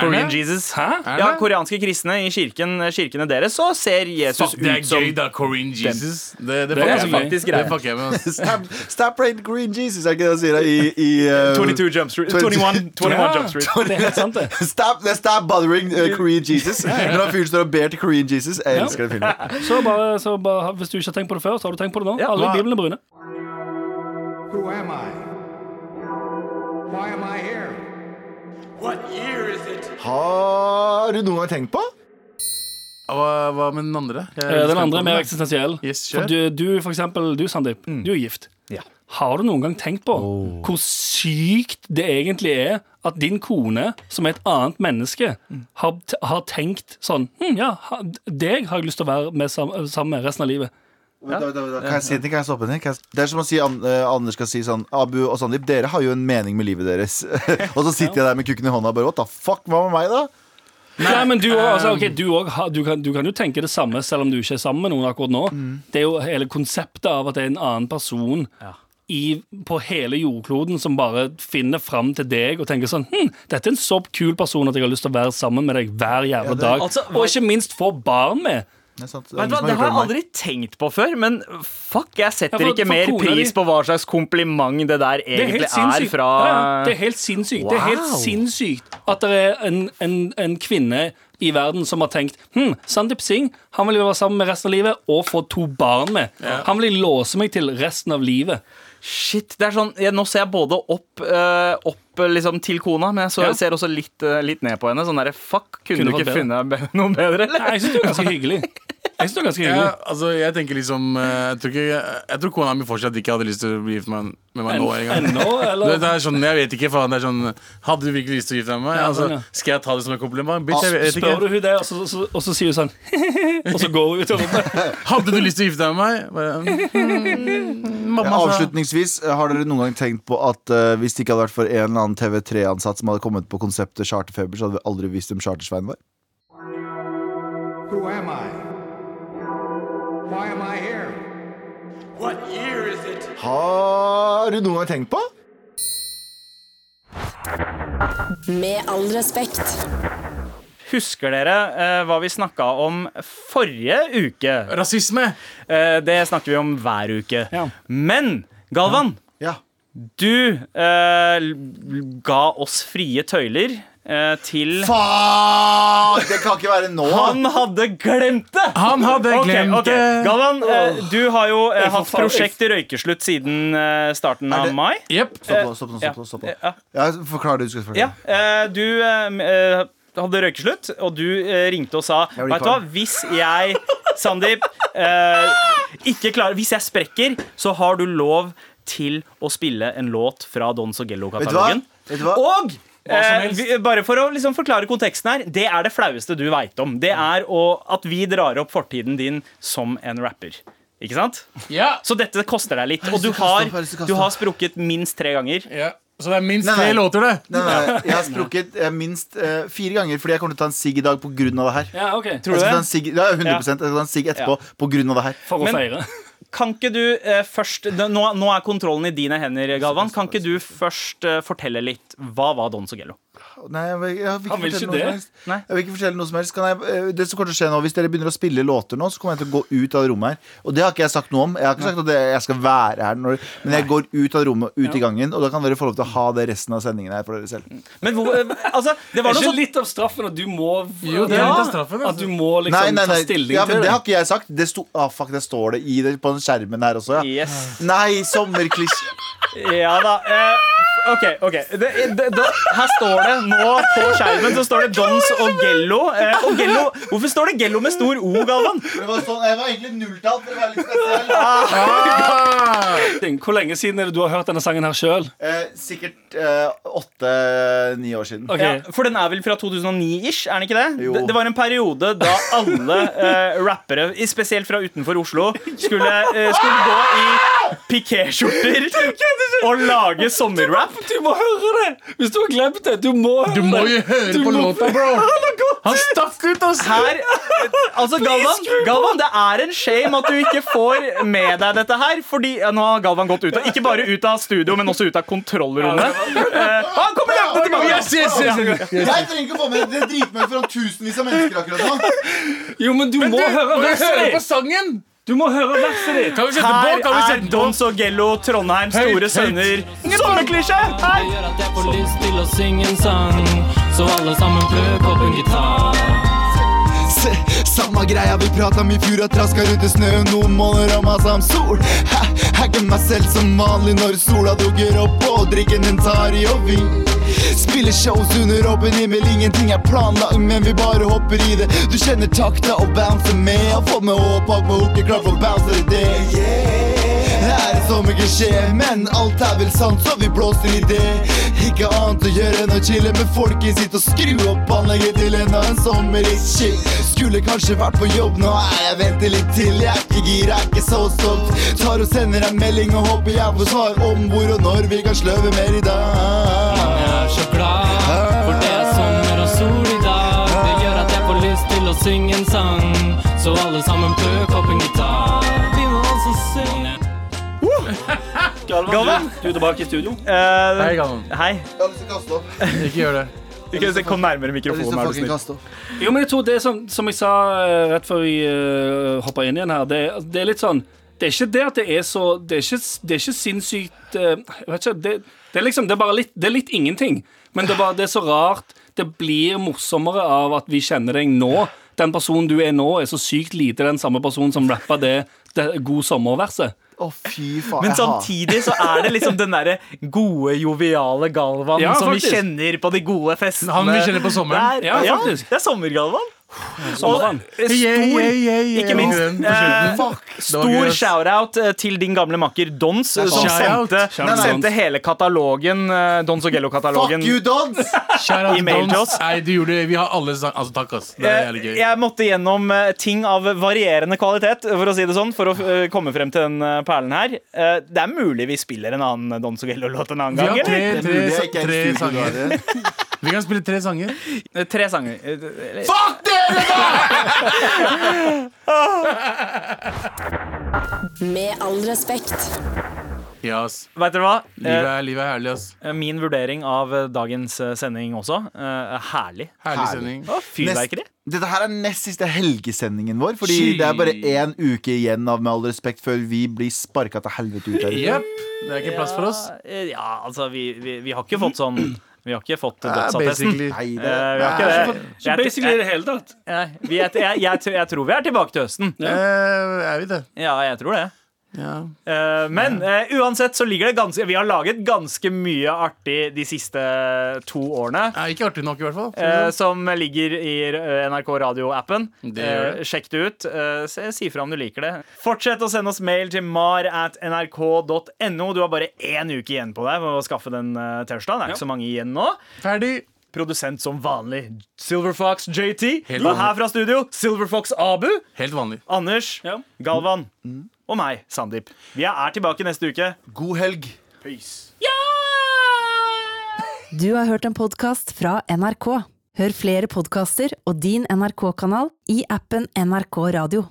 Speaker 3: Korean Jesus.
Speaker 5: Er
Speaker 3: Ja,
Speaker 5: det?
Speaker 3: koreanske kristne i kirken, kirkene deres så ser Jesus
Speaker 5: Fuck, det er
Speaker 3: ut som
Speaker 5: gøy, da. Korean Jesus. Det, det,
Speaker 2: er
Speaker 5: fucker jeg
Speaker 2: ganske
Speaker 5: med.
Speaker 2: gøy.
Speaker 3: Faktisk
Speaker 5: det
Speaker 3: greit.
Speaker 5: fucker jeg med. ass.
Speaker 4: Stop, stop right green Jesus, er ikke det han sier da, i, i eh,
Speaker 3: 22 Jump Street. 21, 21 Jump Street.
Speaker 2: Ja, det er helt sant, det.
Speaker 4: Stop, det er stop bothering eh, Korean Jesus. Når han fyren står og ber til Korean Jesus. Jeg elsker den filmen.
Speaker 2: Så bare, så bare, hvis du ikke har tenkt på det før, så har du tenkt på det nå.
Speaker 3: Ja.
Speaker 2: Alle i Bibelen er brune.
Speaker 7: Who am I? Why am I here?
Speaker 8: Har du noen gang tenkt på?
Speaker 5: Hva, hva med den andre? Jeg
Speaker 2: Eh,
Speaker 5: er
Speaker 2: Den
Speaker 5: spent
Speaker 2: andre
Speaker 5: på
Speaker 2: er mer eksistensiell.
Speaker 5: Yes,
Speaker 2: for
Speaker 5: kjør. Mm.
Speaker 2: du, du, for eksempel, du Sandeep, du er gift. Har du noen gang tenkt på
Speaker 5: Oh.
Speaker 2: hvor sykt det egentlig er at din kone, som er et annet menneske,
Speaker 5: Mm.
Speaker 2: har, t- har tenkt sånn hm, Ja, ha- deg har jeg lyst til å være med sam- sammen med resten av livet.
Speaker 4: Vent, vent, vent, vent. Kan jeg si en ting? Kan jeg stoppe en ting? Kan jeg... Det er som å si An eh, Anders skal si sånn Abu og Sandeep, dere har jo en mening med livet deres. og så sitter jeg der med kukken i hånda og bare What the fuck, hva med meg, da?
Speaker 2: Nei, men du, også, altså, ok, du, også, har- du, kan, du kan jo tenke det samme selv om du ikke er sammen med noen akkurat nå. Det er jo hele konseptet av at det er en annen person i, på hele jordkloden som bare finner fram til deg og tenker sånn hm, Dette er en så kul person at jeg har lyst til å være sammen med deg hver jævla dag.
Speaker 3: Altså,
Speaker 2: og ikke minst få barn med.
Speaker 4: Det er sant, det er
Speaker 3: Vet du hva,
Speaker 4: ingen som
Speaker 3: Det har jeg
Speaker 4: hørt om meg.
Speaker 3: aldri tenkt på før, men fuck, jeg setter
Speaker 2: Ja, for-
Speaker 3: ikke
Speaker 2: for
Speaker 3: mer
Speaker 2: kona
Speaker 3: pris
Speaker 2: di-
Speaker 3: på hva slags kompliment det der
Speaker 2: Det er
Speaker 3: egentlig
Speaker 2: helt
Speaker 3: er,
Speaker 2: sinnssykt.
Speaker 3: fra
Speaker 2: Ja, ja, det er helt sinnssykt. Det er helt
Speaker 3: Wow.
Speaker 2: sinnssykt at det er en, en, en kvinne i verden som har tenkt hm, Sandeep Singh han vil jeg være sammen med resten av livet og få to barn med. Han vil jeg låse meg til resten av livet.
Speaker 3: Shit, det er sånn, jeg, Nå ser jeg både opp, eh, opp eh, liksom til kona, men jeg så,
Speaker 2: Ja.
Speaker 3: ser også litt, eh, litt ned på henne. Sånn derre fuck, kunne,
Speaker 2: Kunne
Speaker 3: du ikke
Speaker 2: vært
Speaker 3: funnet be- noen bedre, eller?
Speaker 2: Nei, jeg syns det er ganske hyggelig. Jeg synes det er ganske
Speaker 5: Ja,
Speaker 2: hyggelig
Speaker 5: altså, jeg tenker liksom eh, Jeg tror, ikke, jeg, jeg tror kona mi fortsatt ikke hadde lyst til å bli gift med, med meg nå engang.
Speaker 2: Ennå,
Speaker 5: Du vet,
Speaker 2: eller?
Speaker 5: Det er sånn, jeg vet ikke, faen. Det er sånn, hadde du virkelig lyst til å gifte deg med
Speaker 2: Ja,
Speaker 5: meg?
Speaker 2: sånn,
Speaker 5: Altså,
Speaker 2: ja. Ah,
Speaker 5: skal jeg ta det som en kompliment? Bitch, jeg vet
Speaker 2: Spør du
Speaker 5: ikke.
Speaker 2: hun det, og så, så, og så sier hun sånn Og så går hun ut av rommet.
Speaker 5: Hadde du lyst til å gifte deg med meg? Bare, um, mm,
Speaker 4: Ja,
Speaker 5: mamma
Speaker 3: Altså-
Speaker 5: sa
Speaker 4: Avslutningsvis, eh, har dere noen gang tenkt på at eh, hvis det ikke hadde vært for en eller annen TV3-ansatt som hadde kommet på konseptet charterfeber, så hadde vi aldri visst hvem Chartersveien var?
Speaker 7: Who am I? Why am I here?
Speaker 8: Har du noen gang tenkt på?
Speaker 1: Med all respekt.
Speaker 3: Husker dere eh, hva vi snakka om forrige uke?
Speaker 5: Rasisme!
Speaker 3: Eh, det snakker vi om hver uke.
Speaker 2: Ja.
Speaker 3: Men Galvan,
Speaker 4: Ja.
Speaker 3: du eh, l- ga oss frie tøyler eh, til
Speaker 4: Faen! Det kan ikke være nå.
Speaker 3: Han hadde glemt det!
Speaker 5: Han hadde
Speaker 3: Ok,
Speaker 5: glemt
Speaker 3: ok.
Speaker 5: det.
Speaker 3: Galvan, eh, du har jo eh,
Speaker 2: Jeg får
Speaker 3: hatt
Speaker 2: faen-
Speaker 3: prosjekt i Røykeslutt siden eh, starten
Speaker 4: Er
Speaker 3: av
Speaker 4: det-
Speaker 3: mai.
Speaker 5: Jepp.
Speaker 4: Stopp nå, stopp nå. stopp nå, stopp nå.
Speaker 3: Ja.
Speaker 4: Ja, forklar det du skal forklare.
Speaker 3: Ja, eh, du eh, m- eh, hadde røykeslutt, og du eh, ringte og sa
Speaker 4: Jeg blir
Speaker 3: Vet du hva,
Speaker 4: kvalm."
Speaker 3: hvis jeg, Sandeep, eh, ikke klarer Hvis jeg sprekker, så har du lov til å spille en låt fra Don
Speaker 4: Vet du hva?
Speaker 3: Sogello-katalogen.
Speaker 4: Vet du hva?
Speaker 3: Og
Speaker 5: som
Speaker 3: eh,
Speaker 5: helst.
Speaker 3: vi, bare for å liksom forklare konteksten her, det er det flaueste du veit om. Det er å, at vi drar opp fortiden din som en rapper. Ikke sant?
Speaker 5: Ja.
Speaker 3: Så dette koster deg litt. Og du
Speaker 4: Helsekaste,
Speaker 3: har,
Speaker 4: helsekaste.
Speaker 3: du har sprukket minst tre ganger.
Speaker 5: ja. Så det er minst
Speaker 4: Nei,
Speaker 5: tre
Speaker 4: nei.
Speaker 5: låter, det.
Speaker 4: Nei, nei, nei. Jeg har sprukket eh, minst eh, fire ganger fordi jeg kommer til å ta en sigg i dag pga. det her.
Speaker 2: Ja, ok.
Speaker 4: Jeg
Speaker 3: du
Speaker 4: skal
Speaker 3: det?
Speaker 4: ta en sigg ja, 100 Jeg skal ta en sigg etterpå på grunn av det her.
Speaker 2: For å
Speaker 3: Men-
Speaker 2: feire.
Speaker 3: Kan ikke du eh, først d- nå, nå er kontrollen i dine hender, Galvan. Kan ikke du først eh, fortelle litt Hva var Don Sogello?
Speaker 4: Nei, jeg vil, jeg vil ikke
Speaker 2: Han vil
Speaker 4: fortelle
Speaker 2: ikke
Speaker 4: noe
Speaker 2: det.
Speaker 4: som helst.
Speaker 3: Nei.
Speaker 4: Jeg vil ikke fortelle noe som helst. Kan jeg, eh, det som kommer til å skje nå, Hvis dere begynner å spille låter nå, så kommer jeg til å gå ut av det rommet her. Og det har ikke jeg sagt noe om. Jeg har ikke sagt at jeg skal være her, når, men jeg går ut av det rommet, ut i gangen, og da kan dere få lov til å ha det resten av sendingen her for dere selv.
Speaker 3: Men hvor, eh, altså, det
Speaker 2: Er
Speaker 3: var noe
Speaker 2: ikke
Speaker 3: sånn
Speaker 2: litt av straffen at du må
Speaker 5: Jo, det er
Speaker 2: Ja,
Speaker 5: litt av straffen, altså.
Speaker 2: At du må liksom
Speaker 4: Nei, nei, nei.
Speaker 2: ta stilling
Speaker 4: Ja, men
Speaker 2: til
Speaker 4: det
Speaker 2: det?
Speaker 4: har ikke jeg sagt. Det sto, ah, fuck, det står det i det på den skjermen her også, ja.
Speaker 3: Yes.
Speaker 4: Nei, sommerklisjé.
Speaker 3: Ja da. Eh, OK. ok det, det, da, Her står det nå på skjermen så står det Dons og Gello. Eh, og Gello hvorfor står det Gello med stor O, Galvan?
Speaker 4: Det var sånn, jeg var egentlig nulltall for å være litt spesiell.
Speaker 2: Hvor lenge siden er det du har hørt denne sangen her sjøl?
Speaker 4: Eh, sikkert eh, åtte-ni år siden.
Speaker 2: Ok.
Speaker 3: Ja, for den er vel fra 2009-ish? er den ikke Det
Speaker 4: Jo.
Speaker 3: Det, det var en periode da alle eh, rappere, i- spesielt fra utenfor Oslo, skulle, eh, skulle gå i pikéskjorter og lage sommerrap.
Speaker 2: Du må høre det! Hvis du har glemt det, du må høre
Speaker 5: Du må jo høre på låta, bro. Han stakk ut, ass.
Speaker 3: Her, altså Galvan, Galvan, det er en shame at du ikke får med deg dette her. Fordi ja, Nå har Galvan gått ut av Ikke bare ut av studio, men også ut av kontrollrommet. Eh, han kommer løpende tilbake!
Speaker 5: Yes, yes, yes.
Speaker 4: Jeg trenger ikke å få med det. Det driter meg foran tusenvis av mennesker akkurat nå.
Speaker 2: Jo, men du må høre verset
Speaker 5: høre på
Speaker 2: ditt!
Speaker 5: sangen!
Speaker 2: Du må høre verset ditt!
Speaker 5: Kan vi sette på? Kan vi
Speaker 3: Her er
Speaker 5: sette på?
Speaker 3: Don Sogello, Trondheim, Store
Speaker 5: høyt.
Speaker 3: Sønner. Sommerklisjé! Hei!
Speaker 6: gjør at jeg får lyst til å synge en sang. Så alle sammen pløk opp en gitar.
Speaker 9: Se, Samma greia vi prata om i fjor, at traska rundt i snøen noen måneder og masa om sol. Hæ, Hagger meg selv som vanlig når sola dukker opp og drikken den tar i og vi Spiller shows under åpen himmel, ingenting er planlagt, men vi bare hopper i det. Du kjenner takta og bouncer med, har fått med håp bak med hooker klar for å bounce i det. Det er en sommerklisjé, men alt er vel sant, så vi blåser i det. Ikke annet å gjøre enn å chille med folket sitt og skru opp anlegget til enda en sommer i shit. Skulle kanskje vært på jobb, nå er jeg venter litt til. Jeg er ikke gira, er ikke så stolt. Tar og sender en melding og håper jeg får svar om hvor og når vi kan sløve mer i dag.
Speaker 6: Jeg er så glad, for det er sommer og sol i dag. Det gjør at jeg får lyst til å synge en sang. Så alle sammen pløk opp en gitar. Vi må også synge.
Speaker 2: Galvan, du, du er tilbake i studio.
Speaker 3: Eh,
Speaker 5: Hei, Galvan.
Speaker 3: hei.
Speaker 4: Jeg har lyst til å kaste opp. Jeg
Speaker 5: Ikke gjør det.
Speaker 3: Ikke, kom nærmere
Speaker 4: har lyst
Speaker 3: mikrofonen.
Speaker 4: til å
Speaker 3: Er du
Speaker 4: fucking
Speaker 3: snill.
Speaker 4: kaste opp.
Speaker 2: Jo, men jeg tror det som, som jeg sa eh, rett før vi uh, hoppa inn igjen her, det, det er litt sånn Det er ikke det at det er så Det er ikke, det er ikke sinnssykt eh, Jeg vet ikke, det, det er liksom Det er bare litt, det er litt ingenting. Men det, er bare, det er så rart. Det blir morsommere av at vi kjenner deg nå. Den personen du er nå, er så sykt lite den samme personen som rappa det, det God sommer-verset.
Speaker 4: Å, fy faen.
Speaker 3: Men
Speaker 4: jeg har-
Speaker 3: samtidig så er det liksom den derre gode, joviale Galvan
Speaker 2: Ja,
Speaker 3: som
Speaker 2: faktisk.
Speaker 3: vi kjenner på de gode festene.
Speaker 5: Han vi kjenner på sommeren.
Speaker 3: Det er,
Speaker 2: Ja,
Speaker 3: ja,
Speaker 2: faktisk.
Speaker 3: det er sommer-Galvan.
Speaker 2: Sommeren.
Speaker 3: Og, eh, Stor, ikke minst eh, Stor shout-out eh, til din gamle makker Dons, eh, som
Speaker 5: Shout-out.
Speaker 3: sendte,
Speaker 2: Shout-out.
Speaker 3: sendte hele katalogen, eh, Dons og Gello-katalogen.
Speaker 4: Fuck you, Dodds!
Speaker 5: Shout-out
Speaker 3: Email til
Speaker 5: til
Speaker 3: oss.
Speaker 5: oss. Nei, du gjorde det. Vi har alle sang... Altså, takk, ass. Det er
Speaker 3: Eh,
Speaker 5: jævlig gøy.
Speaker 3: Jeg måtte gjennom eh, ting av varierende kvalitet for å si det sånn, for å eh, komme frem til den eh, perlen her. Eh, Det er mulig vi spiller en annen eh, Don Sogello-låt en annen
Speaker 5: Vi
Speaker 3: gang.
Speaker 5: har
Speaker 3: Eller?
Speaker 4: Det er
Speaker 5: tre, tre,
Speaker 4: mulig jeg ikke er
Speaker 5: tre
Speaker 4: i studio
Speaker 5: sanger.
Speaker 4: da, det.
Speaker 5: Vi kan spille tre sanger.
Speaker 3: Eh, Tre sanger. Eh, eller-
Speaker 1: Med all respekt.
Speaker 5: Ja, ass.
Speaker 3: Vet dere hva?
Speaker 5: Livet er, livet er herlig, ass.
Speaker 3: Eh, Min vurdering av eh, dagens eh, sending også eh, er herlig.
Speaker 5: Herlig
Speaker 4: Herlig.
Speaker 5: sending.
Speaker 3: Å, Fyrverkeri.
Speaker 4: Nest- Dette her er nest siste helgesendingen vår, fordi
Speaker 5: Sky.
Speaker 4: det er bare én uke igjen av Med all respekt før vi blir sparka til helvete ut her.
Speaker 5: Jepp. Det er ikke plass for oss.
Speaker 3: Ja, eh, Ja, altså, vi, vi, vi har ikke fått sånn Vi har ikke fått eh,
Speaker 5: Ja,
Speaker 3: dødsattesten.
Speaker 5: basically.
Speaker 4: Nei, det,
Speaker 3: Eh, vi har ikke det.
Speaker 2: Så
Speaker 3: Jeg-
Speaker 2: basically i det hele tatt.
Speaker 3: Jeg, vi er, jeg, jeg, tror- jeg tror vi er tilbake til høsten.
Speaker 5: Eh, er vi det?
Speaker 3: Ja, jeg tror det.
Speaker 5: Ja.
Speaker 3: Eh, Men eh, uansett så ligger det ganske Vi har laget ganske mye artig de siste to årene.
Speaker 5: Nei, ikke artig nok, i hvert fall.
Speaker 3: eh, som ligger i eh, NRK Radio-appen.
Speaker 5: Det gjør det.
Speaker 3: Eh, sjekk det ut. Eh, se- si fra om du liker det. Fortsett å sende oss mail til mar at nrk.no. Du har bare én uke igjen på deg for å skaffe den eh, T-skjorta. Det er ikke så mange igjen nå.
Speaker 5: Ferdig.
Speaker 3: Produsent som vanlig Silverfox JT.
Speaker 5: Helt
Speaker 3: Og
Speaker 5: vanlig.
Speaker 3: her fra studio Silverfox Abu.
Speaker 5: Helt vanlig.
Speaker 3: Anders.
Speaker 2: Ja.
Speaker 3: Galvan. Og meg, Sandeep. Vi er tilbake neste uke.
Speaker 4: God helg.
Speaker 10: Du har hørt en podkast fra NRK. Hør flere podkaster og din NRK-kanal i appen NRK Radio.